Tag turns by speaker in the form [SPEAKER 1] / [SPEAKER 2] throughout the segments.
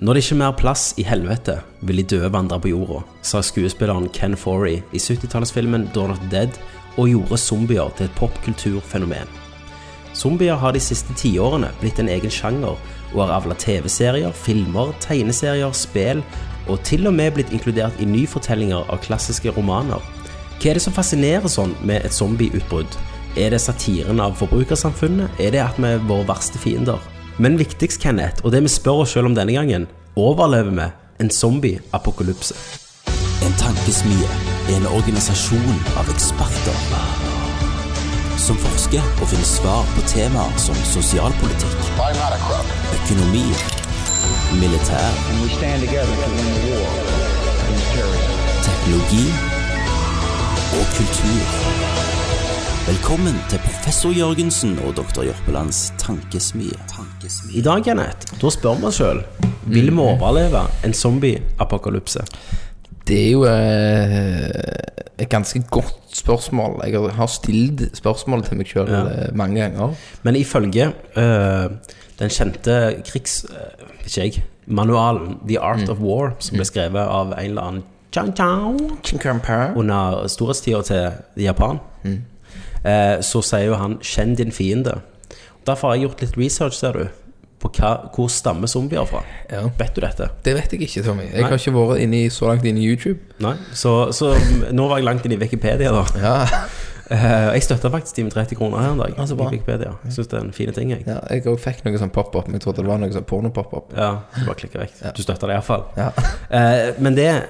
[SPEAKER 1] Når det ikke er mer plass i helvete, vil de døde vandre på jorda, sa skuespilleren Ken Forey i 70-tallsfilmen Dawn of the Dead, og gjorde zombier til et popkulturfenomen. Zombier har de siste tiårene blitt en egen sjanger, og har avla TV-serier, filmer, tegneserier, spill, og til og med blitt inkludert i nyfortellinger av klassiske romaner. Hva er det som fascinerer sånn med et zombieutbrudd? Er det satiren av forbrukersamfunnet? Er det at vi er våre verste fiender? Men viktigst, Kenneth, og det vi spør oss selv om denne gangen, overlever vi en zombie-apokalypse?
[SPEAKER 2] En tankesmie er en organisasjon av eksperter som forsker og finner svar på temaer som sosialpolitikk,
[SPEAKER 3] I'm not a crook.
[SPEAKER 2] økonomi, militær,
[SPEAKER 4] and we stand together to win the war against terrorism.
[SPEAKER 2] teknologi og kultur. Velkommen til professor Jørgensen og doktor Jørpelands tankesmie.
[SPEAKER 1] I dag, Kenneth, da spør vi oss selv, vil vi overleve en zombie-apokalypse?
[SPEAKER 5] Det er jo eh, et ganske godt spørsmål. Jeg har stilt spørsmålet til meg sjøl mange ganger.
[SPEAKER 1] Men ifølge øh, den kjente krigs... øh, vet ikke jeg, manualen The Art of War, som ble skrevet av en eller annen Chang Chang under storhetstida til Japan, eh, så sier jo han 'kjenn din fiende'. Derfor har jeg gjort litt research, ser du, på hva, hvor stammer zombier fra.
[SPEAKER 5] Ja.
[SPEAKER 1] Vet du dette?
[SPEAKER 5] Det vet jeg ikke, Tommy. Jeg har ikke vært inne i, så langt inne i YouTube.
[SPEAKER 1] Nei? Så, så nå var jeg langt inn i Wikipedia, da.
[SPEAKER 5] Ja,
[SPEAKER 1] Eh, jeg støtta faktisk de med 30 kroner her en dag.
[SPEAKER 5] Ah, så bra.
[SPEAKER 1] i Wikipedia. Jeg Syns det er en fin ting, jeg.
[SPEAKER 5] ja Jeg òg fikk noe sånn pop-up, men jeg trodde det var noe sånn porno-pop-up.
[SPEAKER 1] Ja, du bare klikker vekk. Du støtter det iallfall.
[SPEAKER 5] Ja. Mm.
[SPEAKER 1] Eh, men det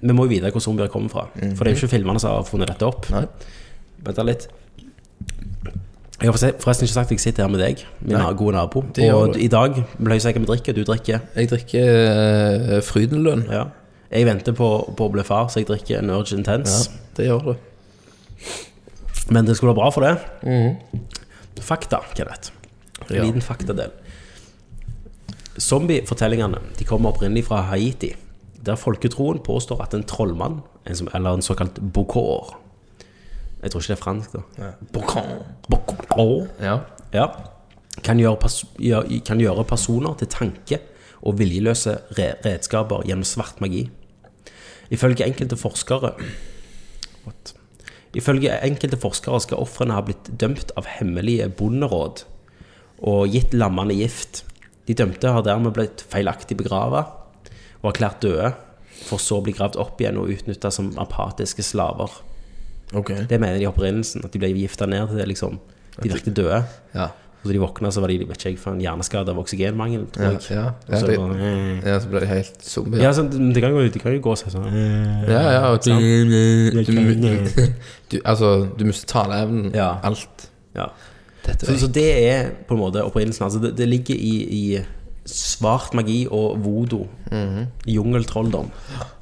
[SPEAKER 1] Vi må jo vite hvor zombier kommer fra. For det er jo ikke filmene som har funnet dette opp.
[SPEAKER 5] Nei.
[SPEAKER 1] Vent da litt. Jeg har forse- forresten ikke sagt at jeg sitter her med deg, min
[SPEAKER 5] Nei.
[SPEAKER 1] gode nabo.
[SPEAKER 5] Det gjør
[SPEAKER 1] Og
[SPEAKER 5] du.
[SPEAKER 1] i dag ble jeg sikker vi drikker, du drikker.
[SPEAKER 5] Jeg drikker uh, Frydenlund.
[SPEAKER 1] Ja. Jeg venter på, på å bli far, så jeg drikker en Urge Intense.
[SPEAKER 5] det gjør du.
[SPEAKER 1] Men det skulle være bra for det. Fakta, Kenneth. En
[SPEAKER 5] Ja.
[SPEAKER 1] liten faktadel. Zombiefortellingene de kommer opprinnelig fra Haiti, der folketroen påstår at en trollmann, en som, eller en såkalt bokor Jeg tror ikke det er fransk, da. Bokor.
[SPEAKER 5] Ja.
[SPEAKER 1] Ja. Kan gjøre, pers gjør- kan gjøre personer til tanke og viljeløse re redskaper gjennom svart magi. Ifølge enkelte forskere What? Ifølge enkelte forskere skal ofrene ha blitt dømt av hemmelige bonderåd og gitt lammene gift. De dømte har dermed blitt feilaktig begravet og erklært døde, for så å bli gravd opp igjen og utnytta som apatiske slaver.
[SPEAKER 5] Ok.
[SPEAKER 1] Det mener de i opprinnelsen, at de ble gifta ned til det, liksom. De virket døde.
[SPEAKER 5] Ja.
[SPEAKER 1] Og så de våkna, så var de vet ikke, jeg, faen, hjerneskadet av oksygenmangel, tror
[SPEAKER 5] Ja,
[SPEAKER 1] jeg.
[SPEAKER 5] ja.
[SPEAKER 1] Og så
[SPEAKER 5] Ja, det-
[SPEAKER 1] bare, mm.
[SPEAKER 5] ja, så ble det helt zombie.
[SPEAKER 1] ja, sånn, men det kan jo, de kan jo gå og si sånn mm.
[SPEAKER 5] ja. ja og du,
[SPEAKER 1] Det
[SPEAKER 5] du,
[SPEAKER 1] kan-
[SPEAKER 5] du, altså, du mister taleevnen.
[SPEAKER 1] Ja.
[SPEAKER 5] Alt.
[SPEAKER 1] ja.
[SPEAKER 5] Dette
[SPEAKER 1] så, så det er på en måte opprinnelsen. Altså, det, det ligger i, i svart magi og vodo.
[SPEAKER 5] Mhm.
[SPEAKER 1] Jungeltrolldom.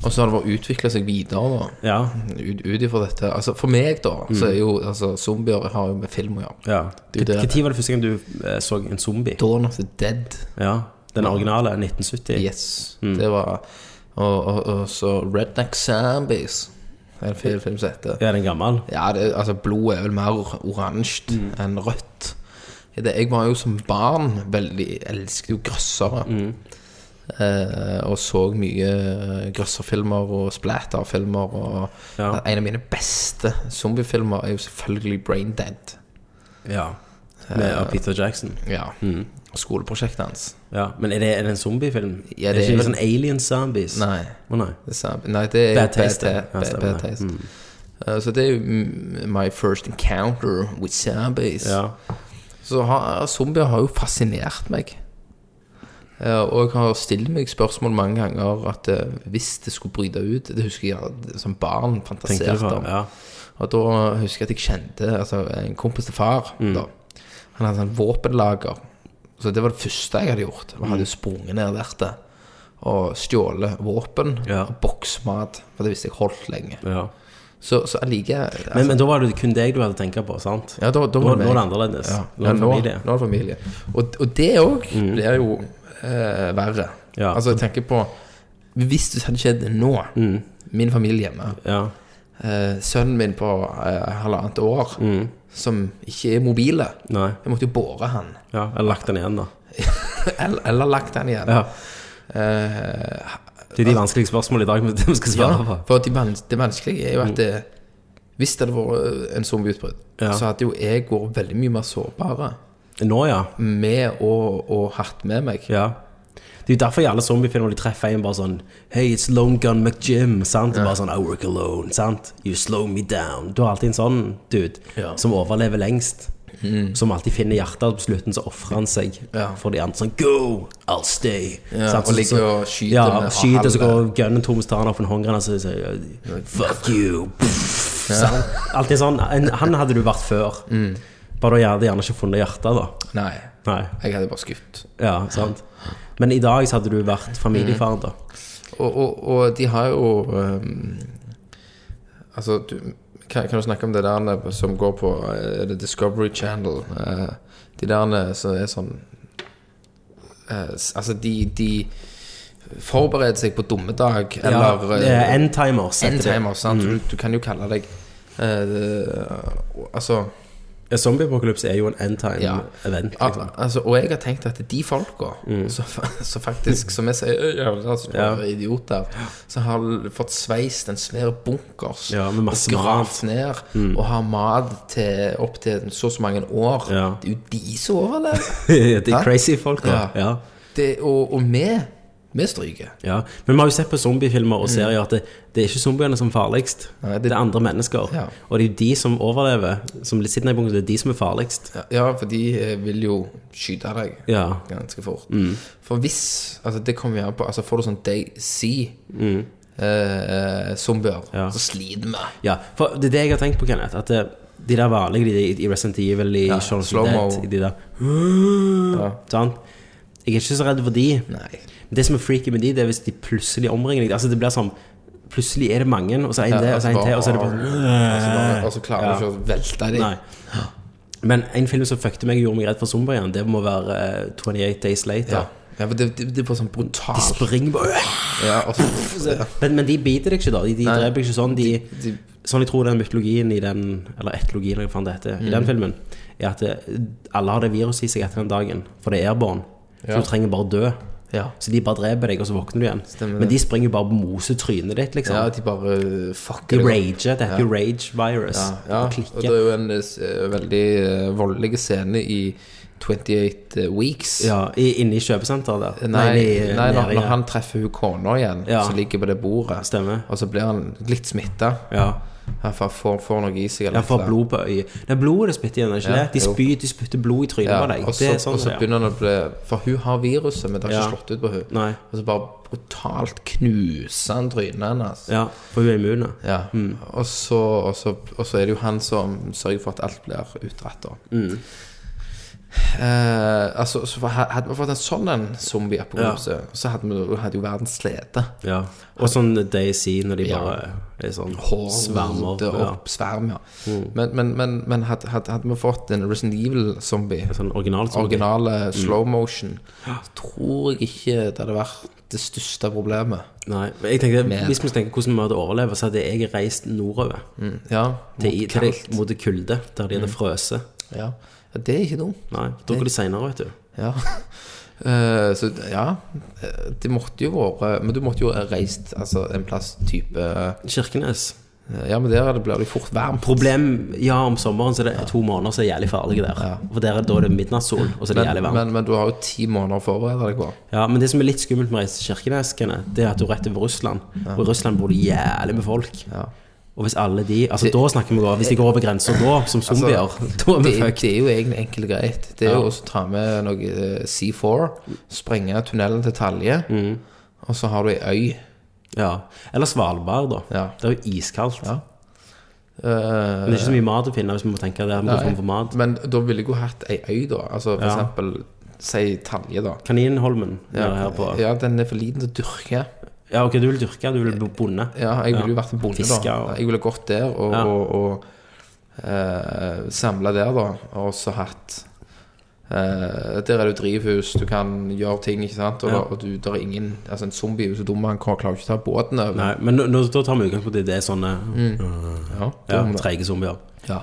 [SPEAKER 5] Og så har det bare utvikla seg videre, da.
[SPEAKER 1] Ja. Mm.
[SPEAKER 5] Ut, ut ifra dette. Altså, for meg, da, så er jo altså, zombier har jo med film å gjøre.
[SPEAKER 1] ja.
[SPEAKER 5] Det er jo det.
[SPEAKER 1] Når var det første gang du eh, så en zombie?
[SPEAKER 5] Dawn of the Dead.
[SPEAKER 1] Ja. Den originale 1970.
[SPEAKER 5] Yes.
[SPEAKER 1] Mm.
[SPEAKER 5] Det var Og, og, og så Redneck Zombies. Det er En film, film som heter
[SPEAKER 1] Er den gammel?
[SPEAKER 5] Ja, det, altså blodet er vel mer or- oransje
[SPEAKER 1] Mm.
[SPEAKER 5] enn rødt. Det, jeg var jo som barn veldig Elsket jo grøssere.
[SPEAKER 1] Mm.
[SPEAKER 5] Eh, og så mye eh, grøsserfilmer og splatterfilmer. Og
[SPEAKER 1] Ja.
[SPEAKER 5] en av mine beste zombiefilmer er jo selvfølgelig Brain Dead.
[SPEAKER 1] Ja. Med av Peter Jackson.
[SPEAKER 5] Ja.
[SPEAKER 1] Mm.
[SPEAKER 5] Skoleprosjektet hans.
[SPEAKER 1] Ja. Men er det, er det en zombiefilm?
[SPEAKER 5] Ja,
[SPEAKER 1] er det
[SPEAKER 5] det er
[SPEAKER 1] ikke
[SPEAKER 5] vel-
[SPEAKER 1] sånn Alien Zombies?
[SPEAKER 5] Nei.
[SPEAKER 1] Å, nei.
[SPEAKER 5] Det sa- Nei, det er
[SPEAKER 1] Bad taste,
[SPEAKER 5] Bad,
[SPEAKER 1] ja.
[SPEAKER 5] ta-
[SPEAKER 1] Ja,
[SPEAKER 5] bad,
[SPEAKER 1] stemmer
[SPEAKER 5] bad
[SPEAKER 1] det. Mm.
[SPEAKER 5] taste. Eh, så det er jo mm, my first encounter with zombies.
[SPEAKER 1] Ja.
[SPEAKER 5] Så har, zombier har jo fascinert meg. Eh, og jeg har stilt meg spørsmål mange ganger at eh, hvis det skulle bryte ut Det husker jeg at som barn
[SPEAKER 1] Tenkte du
[SPEAKER 5] fantaserte
[SPEAKER 1] på?
[SPEAKER 5] om.
[SPEAKER 1] Ja.
[SPEAKER 5] Og da husker jeg at jeg kjente altså, en kompis til far.
[SPEAKER 1] Mm.
[SPEAKER 5] Da. Han hadde sånn våpenlager. Så det var det første jeg hadde gjort. Jeg hadde jo
[SPEAKER 1] Mm.
[SPEAKER 5] sprunget ned der til og stjålet våpen
[SPEAKER 1] Ja.
[SPEAKER 5] og boksmat. For det visste jeg holdt lenge.
[SPEAKER 1] ja.
[SPEAKER 5] Så, så jeg liker altså,
[SPEAKER 1] Men, men da var det kun deg du hadde tenkt på, sant?
[SPEAKER 5] ja, da, da
[SPEAKER 1] Nå-
[SPEAKER 5] var det
[SPEAKER 1] nå er det
[SPEAKER 5] meg.
[SPEAKER 1] annerledes.
[SPEAKER 5] Ja,
[SPEAKER 1] Nå er det
[SPEAKER 5] ja, nå,
[SPEAKER 1] familie. Mm.
[SPEAKER 5] nå er det familie. Og, og det òg blir jo eh, verre.
[SPEAKER 1] Ja.
[SPEAKER 5] Altså, jeg tenker på Hvis det hadde skjedd nå,
[SPEAKER 1] Mm.
[SPEAKER 5] min familie hjemme,
[SPEAKER 1] Ja.
[SPEAKER 5] eh, sønnen min på eh, halvannet år, som ikke er mobile
[SPEAKER 1] Mm. Nei.
[SPEAKER 5] Jeg måtte jo båre han.
[SPEAKER 1] Ja, eller lagt den igjen, da.
[SPEAKER 5] eller, eller lagt han igjen.
[SPEAKER 1] Ja.
[SPEAKER 5] eh,
[SPEAKER 1] Det er de vanskelige spørsmålene i dag vi vi skal svare
[SPEAKER 5] Ja,
[SPEAKER 1] på.
[SPEAKER 5] for det, vans det vanskelige er jo at det, hvis det hadde vært en zombieutbrudd,
[SPEAKER 1] Ja.
[SPEAKER 5] så hadde jo jeg vært veldig mye mer sårbare
[SPEAKER 1] Nå, ja.
[SPEAKER 5] med å, å hatt med meg.
[SPEAKER 1] ja. Det er jo derfor i alle zombiefilmer de treffer en bare sånn Hey, it's Lone Gun McJim. Sant? Bare sånn I work alone. Sant? You slow me down. Du har alltid en sånn dude
[SPEAKER 5] Ja. Mm.
[SPEAKER 1] som overlever lengst. Som alltid finner hjertet på slutten, så ofrer han seg
[SPEAKER 5] Ja.
[SPEAKER 1] for de andre. Sånn Go! I'll stay.
[SPEAKER 5] Ja,
[SPEAKER 1] Sant?
[SPEAKER 5] og
[SPEAKER 1] Så-
[SPEAKER 5] ligger
[SPEAKER 1] så-
[SPEAKER 5] og skyter
[SPEAKER 1] Ja,
[SPEAKER 5] med
[SPEAKER 1] skyter, så
[SPEAKER 5] halve.
[SPEAKER 1] går gunnen tom, så tar han opp en håndgranat og så sier han, Fuck you! Sant? Alltid sånn. En, han hadde du vært før.
[SPEAKER 5] Mm.
[SPEAKER 1] Bare du hadde gjerne ikke funnet hjertet, da.
[SPEAKER 5] Nei,
[SPEAKER 1] Nei.
[SPEAKER 5] jeg hadde bare skutt.
[SPEAKER 1] Ja, sant. Men i dag så hadde du vært familiefar, da.
[SPEAKER 5] Mm. Og, og, og de har jo ehm, Altså, du kan, kan du snakke om det der nede som går på eh, er det Discovery Channel? eh, de der nede som er sånn eh, s- Altså, de, de forbereder seg på dummedag, eller
[SPEAKER 1] ja,
[SPEAKER 5] eh,
[SPEAKER 1] eh, Endtimers. heter det.
[SPEAKER 5] Endtimer, sant? Du, du kan jo kalle deg eh, Altså
[SPEAKER 1] Ja, Zombieapocalypse er jo en liksom.
[SPEAKER 5] Ja.
[SPEAKER 1] endtime-event.
[SPEAKER 5] al- altså, Og jeg har tenkt at de folka
[SPEAKER 1] Mm.
[SPEAKER 5] som, fa- som faktisk, som jeg sier, ja, altså, bare idioter, som har l- fått sveist en svær bunkers
[SPEAKER 1] Ja, med masse Mm.
[SPEAKER 5] og gravd ned, og har mat til opptil så og så mange år
[SPEAKER 1] Ja.
[SPEAKER 5] Det er jo de som overlever!
[SPEAKER 1] De
[SPEAKER 5] Hæ?
[SPEAKER 1] crazy folka. Ja.
[SPEAKER 5] Ja.
[SPEAKER 1] Ja,
[SPEAKER 5] Det, og, og vi, vi stryker.
[SPEAKER 1] Men vi har jo sett på zombiefilmer og serier at det, det er ikke zombiene som er farligst.
[SPEAKER 5] Mm. Nei,
[SPEAKER 1] det,
[SPEAKER 5] det-
[SPEAKER 1] er andre mennesker.
[SPEAKER 5] Ja.
[SPEAKER 1] Og det er jo de som overlever, som litt sitter i bunken, det er de som er farligst.
[SPEAKER 5] Ja, Ja, for de eh, vil jo skyte deg.
[SPEAKER 1] Ja.
[SPEAKER 5] ganske fort.
[SPEAKER 1] Mm.
[SPEAKER 5] For hvis altså det kommer vi an på altså Får du sånn Day-Z-zombier,
[SPEAKER 1] Mm. Ja.
[SPEAKER 5] eh, så sliter vi.
[SPEAKER 1] ja. For det er det jeg har tenkt på, Kenneth. At det, de der vanlige de, i- i Resident Evil, i
[SPEAKER 5] Ja,
[SPEAKER 1] Shaun of the
[SPEAKER 5] slow-mo.
[SPEAKER 1] Dead, i de der
[SPEAKER 5] Ja.
[SPEAKER 1] Sant? Jeg er ikke så redd for de.
[SPEAKER 5] Nei.
[SPEAKER 1] Men Det som er freaky med de, det er hvis de plutselig omringer deg. Altså det blir sånn Plutselig er det mange, og så er en det, og så er en til, og så er det
[SPEAKER 5] Og så altså, bare-
[SPEAKER 1] bare
[SPEAKER 5] Og så klarer du ikke å velte dem.
[SPEAKER 1] Nei. Men en film som fuckte meg og gjorde meg redd for zombier igjen, det må være eh, 28 Days
[SPEAKER 5] Ja.
[SPEAKER 1] Later.
[SPEAKER 5] ja, for det, det, det er bare sånn
[SPEAKER 1] De
[SPEAKER 5] brutalt.
[SPEAKER 1] springer bare
[SPEAKER 5] Ja, altså, og så, ja.
[SPEAKER 1] men, men de biter deg ikke, da. De, de
[SPEAKER 5] Nei.
[SPEAKER 1] dreper ikke sånn. De,
[SPEAKER 5] De,
[SPEAKER 1] sånn jeg tror den mytologien i den Eller etologien, eller hva faen det heter, i
[SPEAKER 5] Mm.
[SPEAKER 1] den filmen, er at eh, alle har det viruset i seg etter den dagen, for det er airborne.
[SPEAKER 5] Ja.
[SPEAKER 1] Så du trenger bare dø.
[SPEAKER 5] ja.
[SPEAKER 1] Så de bare dreper deg, og så våkner du igjen.
[SPEAKER 5] Stemmer det.
[SPEAKER 1] Men de springer jo bare på mosetrynet ditt, liksom.
[SPEAKER 5] ja, de bare fucker
[SPEAKER 1] de
[SPEAKER 5] det opp.
[SPEAKER 1] rager. Det heter jo rage virus.
[SPEAKER 5] Ja,
[SPEAKER 1] De
[SPEAKER 5] ja.
[SPEAKER 1] bare
[SPEAKER 5] Og
[SPEAKER 1] klikker.
[SPEAKER 5] det er jo en eh, veldig eh, voldelig scene i 28 Weeks.
[SPEAKER 1] ja, i, inne i kjøpesenteret der.
[SPEAKER 5] Nei,
[SPEAKER 1] i-
[SPEAKER 5] nei når,
[SPEAKER 1] nede i-
[SPEAKER 5] når han treffer hun kona igjen,
[SPEAKER 1] Ja.
[SPEAKER 5] som ligger på det bordet,
[SPEAKER 1] Stemmer.
[SPEAKER 5] og så blir han litt smitta.
[SPEAKER 1] Ja.
[SPEAKER 5] Han får, får, får noe i seg.
[SPEAKER 1] Han får blod på øyet. Det er blodet de spytter igjen, er det ikke
[SPEAKER 5] Ja,
[SPEAKER 1] det? De,
[SPEAKER 5] jo.
[SPEAKER 1] spyr, de spytter blod i trynet
[SPEAKER 5] Ja,
[SPEAKER 1] på deg.
[SPEAKER 5] og så,
[SPEAKER 1] det er sånn
[SPEAKER 5] og så
[SPEAKER 1] det er.
[SPEAKER 5] begynner han å bli For hun har viruset, men det har
[SPEAKER 1] Ja.
[SPEAKER 5] ikke slått ut på hun
[SPEAKER 1] Nei.
[SPEAKER 5] Og så bare brutalt knuser han trynet hennes.
[SPEAKER 1] Ja, Mm. for hun er immun. da.
[SPEAKER 5] Ja. Og, så, og, så, og så er det jo han som sørger for at alt blir utrettet.
[SPEAKER 1] Mm.
[SPEAKER 5] Eh, altså, så for- hadde vi fått en sånn en zombie-apokalypse, så hadde, vi, hadde jo verden slitt.
[SPEAKER 1] Ja. Og sånn Daisy når de
[SPEAKER 5] Ja.
[SPEAKER 1] bare er sånn
[SPEAKER 5] Horde
[SPEAKER 1] svermer. Ja. Mm.
[SPEAKER 5] og sverm, ja. Men, men, men, men hadde, hadde, hadde vi fått en Resident Evil-zombie,
[SPEAKER 1] Sånn originalt. som-
[SPEAKER 5] originale
[SPEAKER 1] Mm.
[SPEAKER 5] slow motion, så tror jeg ikke det hadde vært det største problemet.
[SPEAKER 1] Nei, men jeg tenkte,
[SPEAKER 5] Men-
[SPEAKER 1] Hvis vi tenker hvordan vi hadde overlevd, så hadde jeg reist nordover.
[SPEAKER 5] Ja,
[SPEAKER 1] Til,
[SPEAKER 5] mot
[SPEAKER 1] til,
[SPEAKER 5] kaldt. Mm.
[SPEAKER 1] mot Mm. det kulde, der de hadde frøset.
[SPEAKER 5] Ja. ja, det er ikke dumt.
[SPEAKER 1] Nei, da går det senere, vet du.
[SPEAKER 5] Ja. Eh, så ja, eh, det måtte jo vært eh, Men du måtte jo ha reist altså, en plass type eh,
[SPEAKER 1] Kirkenes.
[SPEAKER 5] Ja, men der blir det jo fort varmt.
[SPEAKER 1] Problem, ja, om sommeren så er det to måneder som er jævlig farlige der. For der er da er det midnattssol, og så er det jævlig varmt.
[SPEAKER 5] Men, men, men du har jo ti måneder å forberede deg på.
[SPEAKER 1] Ja, men det som er litt skummelt med å reise til Kirkenes, Kenneth, det er at du er rett over Russland. Og i Russland bor det jævlig med folk.
[SPEAKER 5] Ja.
[SPEAKER 1] Og hvis alle de Altså, da snakker vi da. Hvis de går over grensa da, som zombier, da er vi
[SPEAKER 5] Altså, det,
[SPEAKER 1] fucked.
[SPEAKER 5] det er jo egentlig enkelt og greit. Det er
[SPEAKER 1] Ja.
[SPEAKER 5] jo også å ta med noe eh, C4, sprenge tunnelen til Talje,
[SPEAKER 1] Mm.
[SPEAKER 5] og så har du ei øy. eh,
[SPEAKER 1] Ja. Eller Svalbard, da.
[SPEAKER 5] Ja.
[SPEAKER 1] Det er jo iskaldt.
[SPEAKER 5] Ja.
[SPEAKER 1] Men det er ikke så mye mat å finne hvis vi må tenke det. Vi går form for mat.
[SPEAKER 5] Men da ville jeg jo hatt ei øy, da. Altså for
[SPEAKER 1] Ja.
[SPEAKER 5] eksempel si Talje, da.
[SPEAKER 1] Kaninholmen nede her på
[SPEAKER 5] ja, den er for liten til å dyrke.
[SPEAKER 1] Ja, ok, du vil dyrke, du vil bli bonde.
[SPEAKER 5] Ja, jeg ville
[SPEAKER 1] Ja.
[SPEAKER 5] jo vært en bonde,
[SPEAKER 1] Fiske
[SPEAKER 5] da.
[SPEAKER 1] og-
[SPEAKER 5] Jeg ville gått der og,
[SPEAKER 1] Ja.
[SPEAKER 5] og, og eh, samla der, da. Og så hatt eh, Der er det jo drivhus, du kan gjøre ting, ikke sant. Og,
[SPEAKER 1] Ja.
[SPEAKER 5] og du, der er ingen Altså, en zombie er jo så dum, han kan- klarer jo ikke å ta båten over.
[SPEAKER 1] Nei, men nå, nå, da tar vi utgangspunkt i det er sånne
[SPEAKER 5] Mm.
[SPEAKER 1] øh,
[SPEAKER 5] Ja,
[SPEAKER 1] ja,
[SPEAKER 5] dum, da.
[SPEAKER 1] treige zombier.
[SPEAKER 5] ja.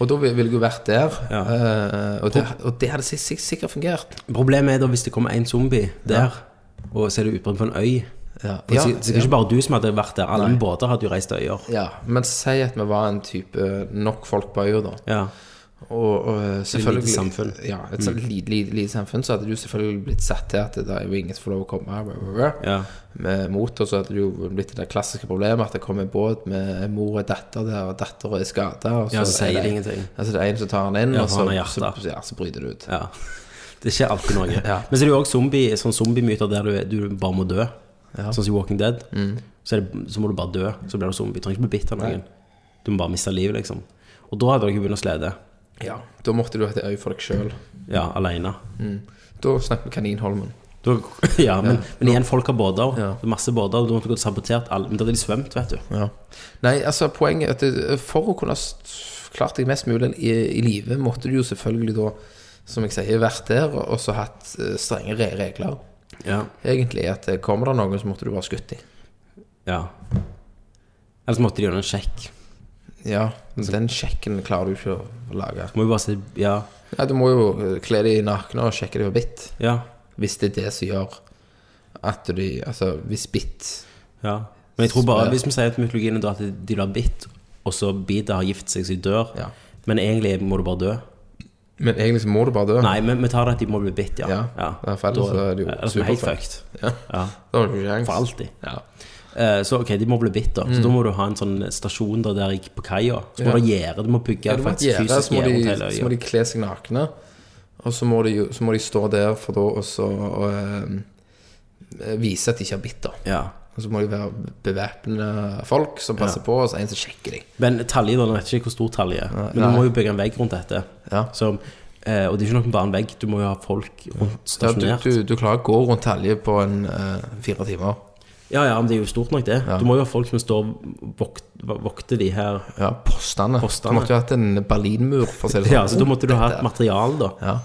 [SPEAKER 5] Og da vil- ville jeg jo vært der.
[SPEAKER 1] Ja.
[SPEAKER 5] eh, og, det, og det hadde sik- sik- sikkert fungert.
[SPEAKER 1] Problemet er da hvis det kommer en zombie der, Og så er det utbrudd på en øy.
[SPEAKER 5] Ja,
[SPEAKER 1] For det det er ikke bare du som hadde vært der. Alle båter hadde jo reist til øyer.
[SPEAKER 5] ja, men si at vi var en type nok folk på øya, da.
[SPEAKER 1] Ja.
[SPEAKER 5] Og, og selvfølgelig
[SPEAKER 1] lite samfunn. Mm.
[SPEAKER 5] Ja, et sånt lite, lite, lite samfunn. Så hadde du selvfølgelig blitt satt til at det er jo ingen som får lov å komme her, blah, blah, blah.
[SPEAKER 1] Ja.
[SPEAKER 5] Med mot, og så hadde det jo blitt det der klassiske problemet at det kommer en båt med mor og datter der, og datteren er skada, og
[SPEAKER 1] Ja, så
[SPEAKER 5] er
[SPEAKER 1] sier det ingenting.
[SPEAKER 5] Altså det er en som tar den inn,
[SPEAKER 1] Ja,
[SPEAKER 5] og
[SPEAKER 1] for
[SPEAKER 5] så,
[SPEAKER 1] han har
[SPEAKER 5] så,
[SPEAKER 1] hjertet.
[SPEAKER 5] ja, så bryter det ut.
[SPEAKER 1] ja. Det skjer alltid noe. Men så er det jo òg zombie, sånn zombiemyter der du, du bare må dø. Sånn som i Walking Dead. Så, er det, så må du bare dø, så blir du zombie. Du trenger ikke bli bitt av noen. Du må bare miste livet, liksom. Og da hadde dere begynt å slede.
[SPEAKER 5] Ja, Da måtte du ha et øye for deg sjøl.
[SPEAKER 1] Ja, aleine.
[SPEAKER 5] Da snakker vi Kaninholmen.
[SPEAKER 1] Ja, men, men igjen, folk har båter.
[SPEAKER 5] Ja.
[SPEAKER 1] Det er Masse båter. og Da måtte du gått og sabotert alle. Men da hadde de svømt, vet du.
[SPEAKER 5] Ja. Nei, altså poenget er at det, for å kunne s- klart deg mest mulig i, i livet, måtte du jo selvfølgelig da, som jeg sier, vært der og og så hatt eh, strenge re- regler.
[SPEAKER 1] Ja.
[SPEAKER 5] Egentlig at eh, kommer det noen, så måtte du bare skutt dem.
[SPEAKER 1] ja. Ellers måtte de gjøre en sjekk.
[SPEAKER 5] Ja, men den sjekken klarer du ikke å lage.
[SPEAKER 1] Må jo bare si Ja.
[SPEAKER 5] Nei, du må jo eh, kle dem nakne og sjekke dem for bitt.
[SPEAKER 1] Ja.
[SPEAKER 5] Hvis det er det som gjør at de Altså, hvis bitt
[SPEAKER 1] Ja. Men jeg tror bare hvis vi sier at mytologien er da at de blir bitt, og så biter har gift seg, så de dør.
[SPEAKER 5] Ja.
[SPEAKER 1] Men egentlig må du bare dø.
[SPEAKER 5] Men egentlig så må du bare dø.
[SPEAKER 1] Nei, men vi tar det at de må bli bitt, ja.
[SPEAKER 5] Ja. Ja, for ellers så er det jo
[SPEAKER 1] ellers er vi helt
[SPEAKER 5] superfucked.
[SPEAKER 1] fucked.
[SPEAKER 5] Ja.
[SPEAKER 1] Ja.
[SPEAKER 5] Da har du ikke sjans.
[SPEAKER 1] For alltid.
[SPEAKER 5] Ja. Mm.
[SPEAKER 1] Eh, Så ok, de må bli bitt, da. Så da må du ha en sånn stasjon der, der jeg- på kaia. Så må
[SPEAKER 5] Ja.
[SPEAKER 1] du ha gjerde. Du må bygge
[SPEAKER 5] Ja, det var et
[SPEAKER 1] faktisk
[SPEAKER 5] gjerde,
[SPEAKER 1] fysisk
[SPEAKER 5] så må
[SPEAKER 1] gjerde rundt
[SPEAKER 5] de-
[SPEAKER 1] hele
[SPEAKER 5] så må
[SPEAKER 1] øya.
[SPEAKER 5] de kle seg nakne. Og så må de, jo- så må de stå der for da og så og, eh, vise at de ikke har bitt. da.
[SPEAKER 1] Ja.
[SPEAKER 5] Og så må de være bevæpnede folk som passer på, og så er det en som sjekker dem.
[SPEAKER 1] Men Talje, da, nå vet jeg ikke hvor stor Talje er. Men du
[SPEAKER 5] nei.
[SPEAKER 1] må jo bygge en vegg rundt dette.
[SPEAKER 5] Ja.
[SPEAKER 1] Som, eh, og det er ikke nok bare en vegg, du må jo ha folk rundt
[SPEAKER 5] Ja, du,
[SPEAKER 1] stasjonert.
[SPEAKER 5] du, du klarer å gå rundt Talje på en eh, fire timer.
[SPEAKER 1] Ja, ja, men det er jo stort nok, det. Du må jo ha folk som står og vokt, vokter de her.
[SPEAKER 5] Ja, postene.
[SPEAKER 1] Postene.
[SPEAKER 5] Du måtte jo hatt en berlinmur, for å si det sånn.
[SPEAKER 1] Ja, så da måtte du ha
[SPEAKER 5] Dette-
[SPEAKER 1] et material, da,
[SPEAKER 5] Ja.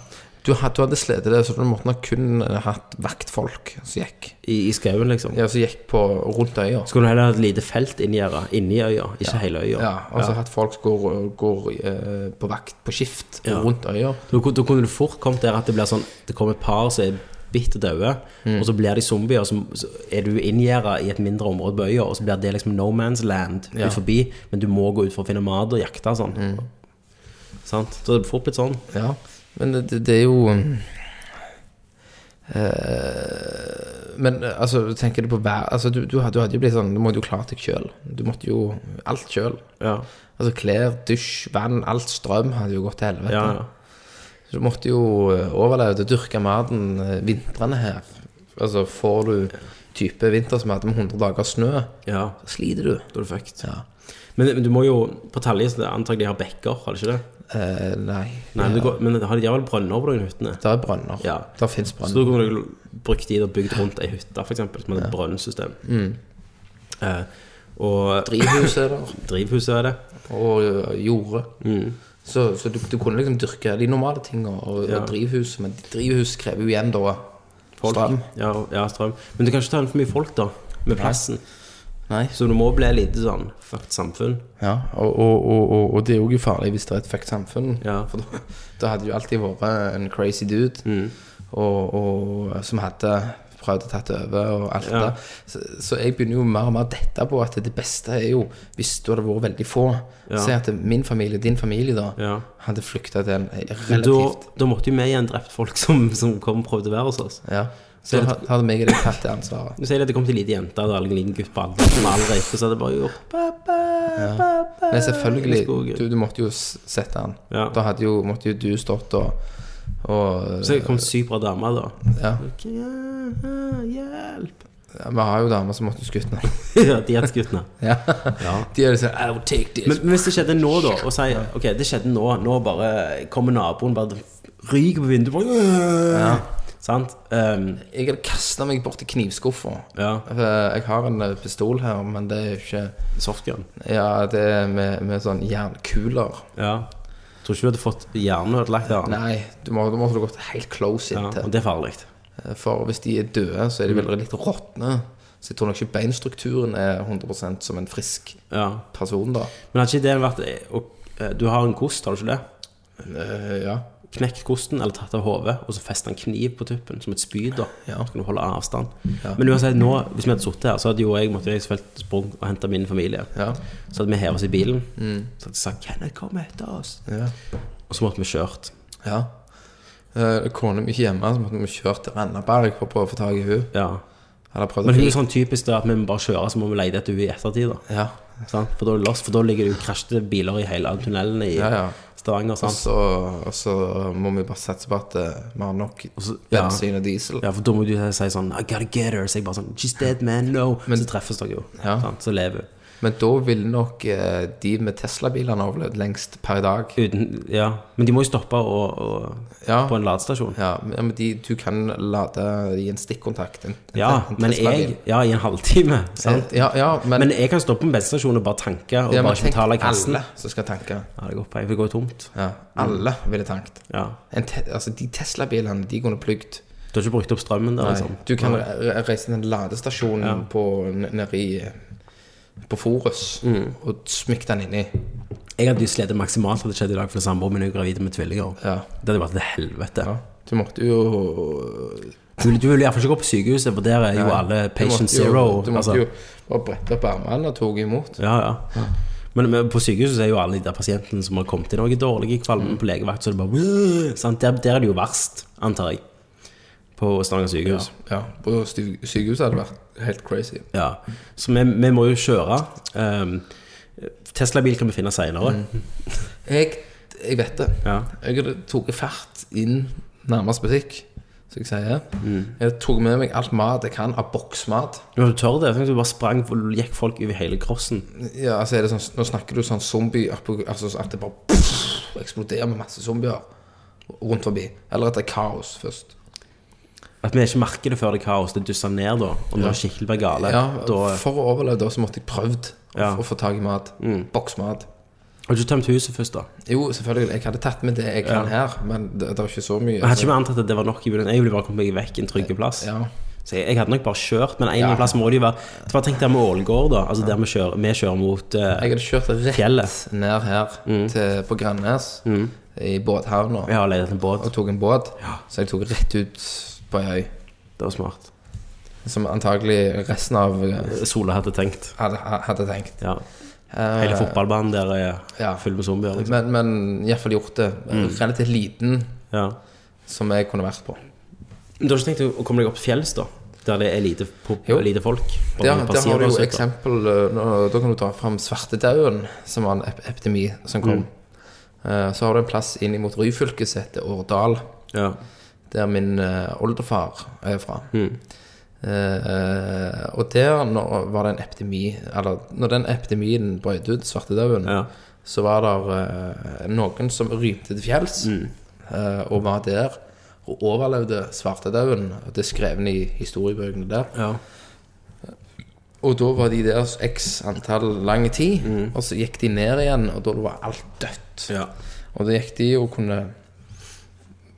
[SPEAKER 5] Du, had- du hadde slitt det, så du måtte nok kun eh, hatt vaktfolk som gikk.
[SPEAKER 1] i, i skauen, liksom.
[SPEAKER 5] Ja, som gikk på rundt øya.
[SPEAKER 1] Så kunne du heller ha et lite felt inni gjerdet, inni øya, ikke hele øya.
[SPEAKER 5] Ja, altså at folk går, går eh, på vakt på skift
[SPEAKER 1] Ja.
[SPEAKER 5] rundt øya.
[SPEAKER 1] Da, kun- da kunne du fort kommet der at det blir sånn Det kommer et par som er bitt og daue, og så blir de zombier, og så, så er du inngjerda i et mindre område på øya, og så blir det liksom no man's land
[SPEAKER 5] Ja.
[SPEAKER 1] ut forbi, men du må gå ut for å finne mat og jakte og sånn. Sant? Så det er fort blitt sånn.
[SPEAKER 5] Ja, men det, det er jo mm, eh, Men altså, tenker du på vær altså, du, du, had- du hadde jo blitt sånn Du måtte jo klare deg sjøl. Du måtte jo alt sjøl.
[SPEAKER 1] Ja.
[SPEAKER 5] Altså klær, dusj, vann, alt strøm hadde jo gått til helvete.
[SPEAKER 1] Ja, ja.
[SPEAKER 5] Så du måtte jo eh, overleve det, dyrke maten eh, vintrene her. Altså får du type vinter som hadde med 100 dager snø,
[SPEAKER 1] ja.
[SPEAKER 5] så sliter du.
[SPEAKER 1] Da er du fucked.
[SPEAKER 5] Ja.
[SPEAKER 1] Men, men du må jo På Talje så antar jeg de har bekker, har de ikke det?
[SPEAKER 5] Eh, nei.
[SPEAKER 1] Nei, men, det går, men har de de har vel brønner på noen hyttene?
[SPEAKER 5] Der er brønner.
[SPEAKER 1] Ja.
[SPEAKER 5] Der fins
[SPEAKER 1] Så da
[SPEAKER 5] brønner.
[SPEAKER 1] kunne du brukt de og bygd rundt ei hytte, f.eks., som hadde brønnsystem. Eh, og
[SPEAKER 5] Drivhus er der,
[SPEAKER 1] drivhuset er det.
[SPEAKER 5] og ø, jorde.
[SPEAKER 1] Mm.
[SPEAKER 5] Så, så du, du kunne liksom dyrke de normale tingene og,
[SPEAKER 1] Ja.
[SPEAKER 5] og drivhus, men drivhus krever jo igjen da strøm.
[SPEAKER 1] Ja, ja, strøm. Men du kan ikke ta inn for mye folk, da, med plassen.
[SPEAKER 5] Nei.
[SPEAKER 1] Så du må bli et lite sånn fucked samfunn.
[SPEAKER 5] Ja, og, og, og, og, og det er jo farlig hvis det er et fucked samfunn.
[SPEAKER 1] Ja.
[SPEAKER 5] For da, da hadde jo alltid vært en crazy dude
[SPEAKER 1] Mm.
[SPEAKER 5] og, og, som hadde prøvd å tatt over og alt
[SPEAKER 1] Ja.
[SPEAKER 5] det. Så, så jeg begynner jo mer og mer å dette på at det beste er jo hvis du hadde vært veldig få.
[SPEAKER 1] Ja.
[SPEAKER 5] Si at min familie, din familie, da,
[SPEAKER 1] Ja.
[SPEAKER 5] hadde flykta til en
[SPEAKER 1] Men Da,
[SPEAKER 5] relativt
[SPEAKER 1] da måtte jo vi igjen drept folk som, som kom og prøvde å være hos oss.
[SPEAKER 5] Ja. Så
[SPEAKER 1] Så-
[SPEAKER 5] ha- hadde meg og deg tatt det ansvaret.
[SPEAKER 1] Du sier det at det kom til en liten jente og en liten gutt på andre som var allerede så hadde det bare gjort pappa, pappa.
[SPEAKER 5] Men
[SPEAKER 1] i skogen.
[SPEAKER 5] selvfølgelig, du, du måtte jo s- sette han.
[SPEAKER 1] Ja.
[SPEAKER 5] Da hadde jo, måtte jo du stått og, og
[SPEAKER 1] Så det kom sykt bra damer, da.
[SPEAKER 5] ja.
[SPEAKER 1] Ok, ja, Hjelp!
[SPEAKER 5] Vi har jo damer som måtte skutt han.
[SPEAKER 1] ja, de hadde skutt henne.
[SPEAKER 5] Ja.
[SPEAKER 1] Ja.
[SPEAKER 5] De er sånn I will take this.
[SPEAKER 1] Men men hvis det skjedde nå, da, og sier ok, det skjedde nå, nå bare kommer naboen bare ryker på vinduet bare, Sant? Ehm,
[SPEAKER 5] jeg hadde kasta meg borti knivskuffa.
[SPEAKER 1] Ja.
[SPEAKER 5] Eh, Jeg har en eh, pistol her, men det er jo ikke
[SPEAKER 1] softgun.
[SPEAKER 5] Ja, det er med, med sånn jernkuler.
[SPEAKER 1] Ja. Tror ikke du hadde fått hjernen ødelagt av den.
[SPEAKER 5] Nei, du må, da måtte du gått helt close
[SPEAKER 1] Ja,
[SPEAKER 5] inntil.
[SPEAKER 1] og det er farlig.
[SPEAKER 5] For hvis de er døde, så er de vel litt råtne. Så jeg tror nok ikke beinstrukturen er 100 som en frisk
[SPEAKER 1] Ja.
[SPEAKER 5] person, da.
[SPEAKER 1] Men hadde ikke ideen vært eh, å- eh, Du har en kost, har du ikke det?
[SPEAKER 5] Eh, ja.
[SPEAKER 1] knekt kosten eller tatt av hodet, og så festet han kniv på tuppen, som et spyd. da
[SPEAKER 5] Ja.
[SPEAKER 1] Så kunne du holde avstand. Men uansett, nå, hvis vi hadde sittet her, så hadde jo jeg måtte jeg selvfølgelig sprunget og henta min familie.
[SPEAKER 5] Ja. Mm.
[SPEAKER 1] Så hadde vi hevet oss i bilen. Så hadde jeg sagt 'Kenneth, kom etter oss'.
[SPEAKER 5] ja.
[SPEAKER 1] Og så måtte vi kjørt.
[SPEAKER 5] ja. Eh, Kona mi ikke hjemme, så måtte vi kjøre til Randaberg for å prøve å få tak i henne.
[SPEAKER 1] Ja.
[SPEAKER 5] Eller prøvd
[SPEAKER 1] Men
[SPEAKER 5] å
[SPEAKER 1] hun er sånn typisk da, at vi må bare kjøre, så må vi leie etter henne i ettertid. da
[SPEAKER 5] Ja.
[SPEAKER 1] sant? For, da er det lost, for da ligger det jo krasjete biler i hele tunnelene i
[SPEAKER 5] Ja, ja.
[SPEAKER 1] Stavanger.
[SPEAKER 5] Og
[SPEAKER 1] Sant?
[SPEAKER 5] så, og så må vi bare satse på at eh, vi har nok
[SPEAKER 1] ja.
[SPEAKER 5] bensin og diesel.
[SPEAKER 1] Ja, for da må du si sånn I gotta get her. Så jeg bare sånn She's dead, man. No.
[SPEAKER 5] Men-
[SPEAKER 1] så treffes dere jo.
[SPEAKER 5] Ja.
[SPEAKER 1] Sant? Så lever hun.
[SPEAKER 5] Men da ville nok eh, de med Tesla-bilene overlevd lengst per dag.
[SPEAKER 1] Uten Ja. Men de må jo stoppe og, og,
[SPEAKER 5] Ja.
[SPEAKER 1] på en ladestasjon.
[SPEAKER 5] Ja, men de, du kan lade i en stikkontakt. En,
[SPEAKER 1] Ja,
[SPEAKER 5] en
[SPEAKER 1] men
[SPEAKER 5] Tesla-bil.
[SPEAKER 1] jeg Ja, i en halvtime. Sant?
[SPEAKER 5] Eh, Ja, ja, men,
[SPEAKER 1] Men jeg kan stoppe på en bensinstasjon og bare tanke og
[SPEAKER 5] ja, men
[SPEAKER 1] bare ikke
[SPEAKER 5] tenk
[SPEAKER 1] betale kassen.
[SPEAKER 5] alle som skal tanke.
[SPEAKER 1] Ja, det går på. Jeg vil gå tomt.
[SPEAKER 5] Ja, alle ville tanket.
[SPEAKER 1] Ja.
[SPEAKER 5] En te altså, de Tesla-bilene, de kunne plugget.
[SPEAKER 1] Du har ikke brukt opp strømmen der, liksom?
[SPEAKER 5] Du kan re- re- reise til en ladestasjon på, n- nede i på Forus
[SPEAKER 1] Mm.
[SPEAKER 5] og smykke den inni.
[SPEAKER 1] Jeg hadde jo slitt maksimalt hadde det skjedd i dag, for samboeren min er jo gravid med tvillinger.
[SPEAKER 5] Ja.
[SPEAKER 1] Det hadde vært til helvete.
[SPEAKER 5] Ja. Du måtte jo
[SPEAKER 1] Du, vil- du vil iallfall ikke gå på sykehuset, for der er jo alle patient
[SPEAKER 5] du måtte jo-
[SPEAKER 1] zero.
[SPEAKER 5] Du måtte
[SPEAKER 1] altså.
[SPEAKER 5] jo bare brette opp armene og tok imot.
[SPEAKER 1] Ja, ja. Men, men på sykehuset så er jo alle de der pasientene som har kommet inn noe dårlig i
[SPEAKER 5] Mm.
[SPEAKER 1] kvalmen på legevakt, så er det bare «Åh!» sant? Der, der er det jo verst, antar jeg. På Stavanger sykehus.
[SPEAKER 5] Ja, På stu- sykehuset hadde det vært helt crazy.
[SPEAKER 1] Ja. Så vi, vi må jo kjøre. Um, Tesla-bil kan vi finne seinere.
[SPEAKER 5] Mm. Jeg, jeg vet det.
[SPEAKER 1] Ja.
[SPEAKER 5] Jeg hadde tok fart inn nærmest butikk, som jeg sier.
[SPEAKER 1] Mm.
[SPEAKER 5] Jeg tok med meg alt mat jeg kan av boksmat.
[SPEAKER 1] Men Du tør det? Tenk om du bare sprang og gikk folk over hele crossen.
[SPEAKER 5] Ja, altså er det sånn, Nå snakker du sånn zombie apok- altså så At det bare pff, eksploderer med masse zombier rundt forbi. Eller at det er kaos først.
[SPEAKER 1] At vi ikke merker det før det er kaos. Det dysser ned da. Og når skikkelig blir gale,
[SPEAKER 5] Ja,
[SPEAKER 1] da
[SPEAKER 5] For å overleve da, så måtte jeg prøvd å,
[SPEAKER 1] Ja. Mm.
[SPEAKER 5] å få tak i mat. Boksmat.
[SPEAKER 1] Har du ikke tømt huset først, da?
[SPEAKER 5] Jo, selvfølgelig. Jeg hadde tatt med det jeg kan her, men det, det er ikke så mye. Altså,
[SPEAKER 1] Jeg hadde ikke vi antatt at det var nok i bunnen. Jeg ville bare kommet meg vekk en trygg plass.
[SPEAKER 5] ja.
[SPEAKER 1] Så jeg, jeg hadde nok bare kjørt, men en eller annen plass må det jo være Det var tenkt der med Ålgård, da. Altså der vi kjører, vi kjører mot eh,
[SPEAKER 5] Jeg hadde kjørt rett
[SPEAKER 1] fjellet.
[SPEAKER 5] ned her
[SPEAKER 1] Mm.
[SPEAKER 5] til, på Grannes, i båthavna.
[SPEAKER 1] Jeg har leid etter en båt.
[SPEAKER 5] og tok en båt. Så jeg tok rett ut på ei øy.
[SPEAKER 1] Det var smart.
[SPEAKER 5] Som antagelig resten av eh,
[SPEAKER 1] Sola hadde tenkt.
[SPEAKER 5] hadde, hadde tenkt.
[SPEAKER 1] Ja.
[SPEAKER 5] Eh,
[SPEAKER 1] Hele fotballbanen der er
[SPEAKER 5] ja.
[SPEAKER 1] full med zombier. Liksom.
[SPEAKER 5] Men, men iallfall gjort det. Relativt liten
[SPEAKER 1] Ja.
[SPEAKER 5] som jeg kunne vært på.
[SPEAKER 1] Men du har ikke tenkt å- å komme deg opp til fjells, da? Der det er lite, po-
[SPEAKER 5] Jo.
[SPEAKER 1] lite folk? Bare
[SPEAKER 5] Ja,
[SPEAKER 1] med
[SPEAKER 5] der har du
[SPEAKER 1] passerende
[SPEAKER 5] jo
[SPEAKER 1] sitter.
[SPEAKER 5] eksempel eh, nå, Da kan du dra fram svartedauden, som var en ep epidemi som kom. Eh, så har du en plass inn mot Ryfylke som heter Årdal,
[SPEAKER 1] Ja.
[SPEAKER 5] der min eh, oldefar er fra.
[SPEAKER 1] Hmm.
[SPEAKER 5] Eh, og der når, var det en epidemi Eller når den epidemien brøt ut, svartedauden,
[SPEAKER 1] Ja.
[SPEAKER 5] så var det noen som rymte til fjells
[SPEAKER 1] Hmm.
[SPEAKER 5] eh, og var der og overlevde svartedauden. og Det er skrevet i historiebøkene der.
[SPEAKER 1] Ja.
[SPEAKER 5] Og da var de der x antall lang tid, og så gikk de ned igjen, og da var alt dødt.
[SPEAKER 1] Hmm. Ja.
[SPEAKER 5] Og da gikk de og kunne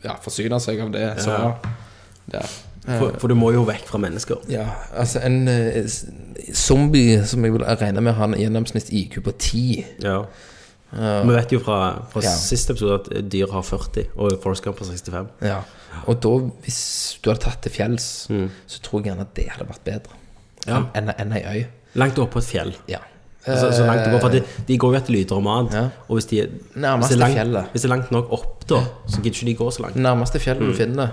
[SPEAKER 5] ja, forsyne seg av det. Så,
[SPEAKER 1] Ja.
[SPEAKER 5] der.
[SPEAKER 1] For, for du må jo vekk fra mennesker.
[SPEAKER 5] Ja, altså en eh, s- zombie som jeg vil regne med har en gjennomsnitt IQ på 10.
[SPEAKER 1] Ja. Vi vet jo fra, fra
[SPEAKER 5] Eh, Ja.
[SPEAKER 1] siste episode at dyr har 40, og Forrest Gump har 65.
[SPEAKER 5] Ja. Og da, hvis du hadde tatt til fjells, så tror jeg gjerne at det hadde vært bedre
[SPEAKER 1] Mm. Ja.
[SPEAKER 5] enn enn ei øy.
[SPEAKER 1] Langt oppe på et fjell.
[SPEAKER 5] Ja.
[SPEAKER 1] Altså, så langt det går, for de, de går jo etter lyder og mat.
[SPEAKER 5] Eh, Ja.
[SPEAKER 1] Og hvis, de,
[SPEAKER 5] Nærmeste
[SPEAKER 1] hvis, det er
[SPEAKER 5] fjellet. Mm.
[SPEAKER 1] langt, hvis det er langt nok opp, da, så gidder ikke de gå så langt.
[SPEAKER 5] Nærmeste fjellet
[SPEAKER 1] Mm.
[SPEAKER 5] du finner.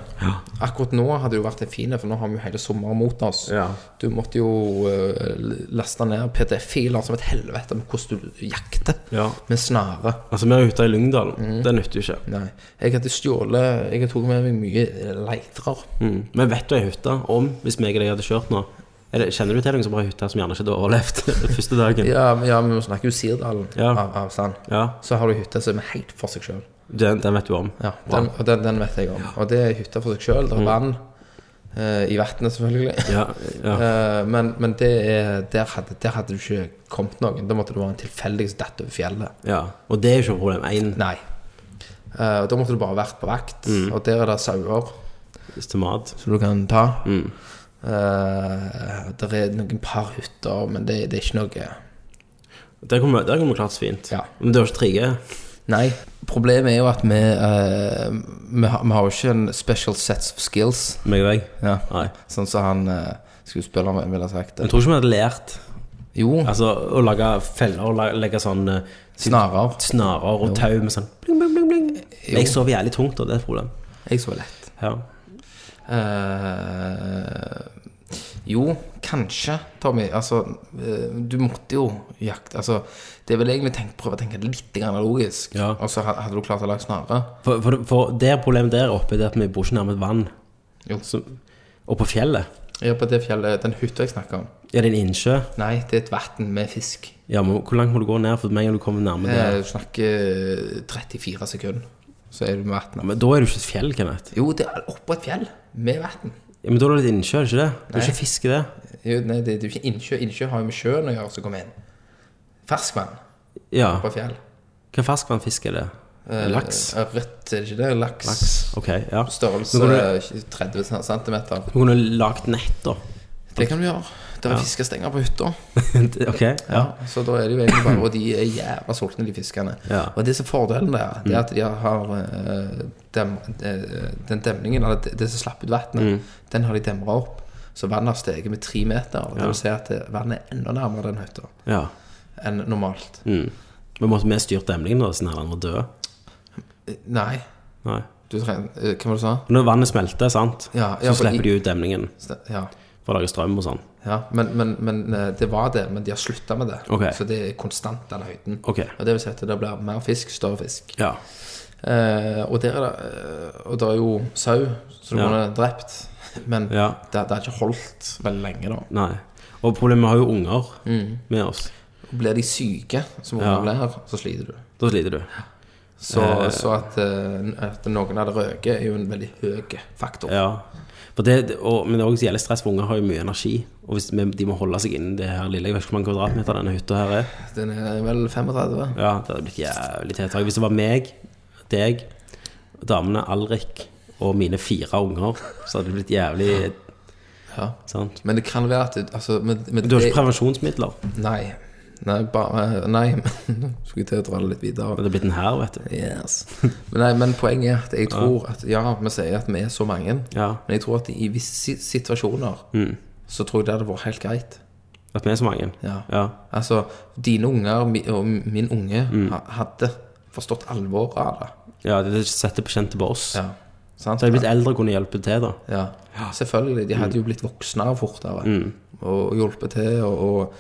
[SPEAKER 5] Akkurat nå hadde det jo vært en fin, for nå har vi jo hele sommeren mot oss.
[SPEAKER 1] Ja.
[SPEAKER 5] Du måtte jo eh, laste ned PDF-filer som et helvete med hvordan du jakter
[SPEAKER 1] Ja.
[SPEAKER 5] med snare.
[SPEAKER 1] Altså, vi er ute i Lyngdalen.
[SPEAKER 5] Mm.
[SPEAKER 1] Det nytter jo ikke.
[SPEAKER 5] Nei. Jeg hadde stjålet Jeg tok med meg mye leitere.
[SPEAKER 1] Mm. Men vet du ei hytte om, hvis meg og deg hadde kjørt nå er det, Kjenner du til noen som har ei hytte som gjerne ikke hadde overlevd den første dagen?
[SPEAKER 5] Ja, men- ja, men vi snakker jo Sirdalen
[SPEAKER 1] Ja.
[SPEAKER 5] av avstand.
[SPEAKER 1] Ja,
[SPEAKER 5] Så har du hytta som er helt for seg sjøl.
[SPEAKER 1] den, den vet du om.
[SPEAKER 5] Ja, den, og den, den vet jeg om. Og det er hytta for seg sjøl. Det er vann eh, i vannet, selvfølgelig.
[SPEAKER 1] Ja, ja.
[SPEAKER 5] Eh, men men det er, der, hadde, der hadde du ikke kommet noen. Da måtte det være en tilfeldig som datt over fjellet.
[SPEAKER 1] ja. Og det er jo ikke noe problem. Én
[SPEAKER 5] Nei. Eh, og da måtte du bare vært på vakt, og der er det sauer
[SPEAKER 1] til mat.
[SPEAKER 5] som du kan ta. Eh, der er noen par hytter, men det, det er ikke noe
[SPEAKER 1] Der kommer, der kommer klart så fint.
[SPEAKER 5] Ja.
[SPEAKER 1] Men du har ikke 3G?
[SPEAKER 5] Nei, problemet er jo at vi, eh, vi, har, vi har jo ikke en special sets of skills.
[SPEAKER 1] Meg og deg.
[SPEAKER 5] Ja.
[SPEAKER 1] Nei.
[SPEAKER 5] Sånn som han eh, skuespilleren ville ha sagt.
[SPEAKER 1] Jeg tror ikke vi hadde lært
[SPEAKER 5] Jo,
[SPEAKER 1] altså, å lage feller og la- legge sånn eh,
[SPEAKER 5] snarere.
[SPEAKER 1] snarer og tau med sånn bling, bling, bling, bling.
[SPEAKER 5] Jo.
[SPEAKER 1] Jeg sover jævlig tungt, og det er et problem.
[SPEAKER 5] Jeg så lett.
[SPEAKER 1] Ja.
[SPEAKER 5] Eh, jo, kanskje, Tommy. Altså, eh, du måtte jo jakte altså, Det er vel egentlig tenkt, prøve å tenke litt grann logisk.
[SPEAKER 1] Ja.
[SPEAKER 5] Og så ha- hadde du klart å lage snare.
[SPEAKER 1] For, for, for det problemet der oppe det er at vi bor ikke nærme et vann.
[SPEAKER 5] Jo.
[SPEAKER 1] Så, og på fjellet
[SPEAKER 5] Ja, på det fjellet, den hytta jeg snakker om.
[SPEAKER 1] er det en innsjø.
[SPEAKER 5] Nei, det er et vann med fisk.
[SPEAKER 1] Ja, men Hvor langt må du gå ned for med en gang du kommer nærme
[SPEAKER 5] Eh,
[SPEAKER 1] det?
[SPEAKER 5] Du snakker 34 eh, sekunder, så er du med
[SPEAKER 1] Ja,
[SPEAKER 5] vannet.
[SPEAKER 1] men Da er du ikke et fjell, Kenneth.
[SPEAKER 5] Jo, det er oppå et fjell med vann.
[SPEAKER 1] Ja, men Da er det et innsjø, er det ikke det? Du er ikke fisk i det?
[SPEAKER 5] Jo, Nei, det, det er jo ikke innsjø. Innsjø har jo med sjøen å gjøre, som kommer inn. Ferskvann
[SPEAKER 1] Ja.
[SPEAKER 5] på fjell.
[SPEAKER 1] Hva ferskvannfisk er det?
[SPEAKER 5] Eh,
[SPEAKER 1] Laks?
[SPEAKER 5] Ørret, er det ikke det? Laks.
[SPEAKER 1] Ok, ja.
[SPEAKER 5] Størrelse
[SPEAKER 1] Men går
[SPEAKER 5] 30 cm.
[SPEAKER 1] Du kunne lagd nett, da.
[SPEAKER 5] Det kan du gjøre. Det er fiskestenger på hytta.
[SPEAKER 1] ok, ja.
[SPEAKER 5] Så da er det jo egentlig bare Og de er jævla sultne, de fiskene.
[SPEAKER 1] Ja. Mm.
[SPEAKER 5] Og det som er fordelen der, det er at de har eh, dem, eh, den demningen, eller det, det som slapp ut
[SPEAKER 1] Mm.
[SPEAKER 5] vannet, den har de demra opp. Så vannet har steget med tre meter. Det vil si at eh, vannet er enda nærmere den hytta
[SPEAKER 1] ja.
[SPEAKER 5] enn normalt.
[SPEAKER 1] Mm. Men måtte vi styrt demningen, da, sånn at den var død? Mm.
[SPEAKER 5] Eh, Nei,
[SPEAKER 1] Nei.
[SPEAKER 5] du trenger eh, Hva var det du sa?
[SPEAKER 1] Når vannet smelter, sant,
[SPEAKER 5] Ja, ja,
[SPEAKER 1] så
[SPEAKER 5] for
[SPEAKER 1] slipper
[SPEAKER 5] i-
[SPEAKER 1] de ut demningen
[SPEAKER 5] Ste- Ja.
[SPEAKER 1] for å lage strøm og sånn.
[SPEAKER 5] Ja, men, men, men eh, det var det, men de har slutta med det.
[SPEAKER 1] Ok.
[SPEAKER 5] Så det er konstant den høyden.
[SPEAKER 1] Ok.
[SPEAKER 5] Og det vil si at det blir mer fisk, større fisk.
[SPEAKER 1] Ja.
[SPEAKER 5] Eh, og der er det eh, Og det er jo sau som
[SPEAKER 1] Ja.
[SPEAKER 5] kunne drept, men
[SPEAKER 1] Ja.
[SPEAKER 5] det, det har ikke holdt veldig lenge, da.
[SPEAKER 1] Nei. Og problemet er, vi har jo unger
[SPEAKER 5] Mm.
[SPEAKER 1] med oss.
[SPEAKER 5] Blir de syke, som
[SPEAKER 1] Ja.
[SPEAKER 5] ungene blir, så sliter du.
[SPEAKER 1] Da sliter du.
[SPEAKER 5] Så, så at, eh, at noen hadde røket, er jo en veldig høy faktor.
[SPEAKER 1] Ja. For det, det- og, men det er også gjelder stress, for unger har jo mye energi. Og hvis vi, de må holde seg innen det her lille Jeg vet ikke hvor mange kvadratmeter denne hytta her er.
[SPEAKER 5] Den er vel 35?
[SPEAKER 1] Ja, det hadde blitt jævlig tiltak. Hvis det var meg, deg, damene Alrik og mine fire unger, så hadde det blitt jævlig
[SPEAKER 5] Ja.
[SPEAKER 1] sant?
[SPEAKER 5] Men det kan være at du- altså, men, men
[SPEAKER 1] Du har
[SPEAKER 5] det-
[SPEAKER 1] ikke prevensjonsmidler. Det
[SPEAKER 5] Nei. Nei, bare eh, Nei, men skulle til å dra det litt videre.
[SPEAKER 1] hadde blitt en hær, vet du.
[SPEAKER 5] Yes. Men, nei, men poenget er at jeg tror at Ja, vi sier at vi er så mange,
[SPEAKER 1] Ja.
[SPEAKER 5] men jeg tror at i visse si- situasjoner
[SPEAKER 1] Mm.
[SPEAKER 5] så tror jeg det hadde vært helt greit.
[SPEAKER 1] At vi er så mange.
[SPEAKER 5] Ja.
[SPEAKER 1] Ja.
[SPEAKER 5] Altså, dine unger mi- og min unge
[SPEAKER 1] Mm.
[SPEAKER 5] ha- hadde forstått alvoret av det.
[SPEAKER 1] ja det setter på kjente på oss.
[SPEAKER 5] Ja. Sant?
[SPEAKER 1] Så hadde de blitt Mm. eldre og kunne hjelpe til, da.
[SPEAKER 5] Ja. Selvfølgelig. De hadde jo blitt voksne fortere
[SPEAKER 1] Mm.
[SPEAKER 5] og hjulpet til. Og, og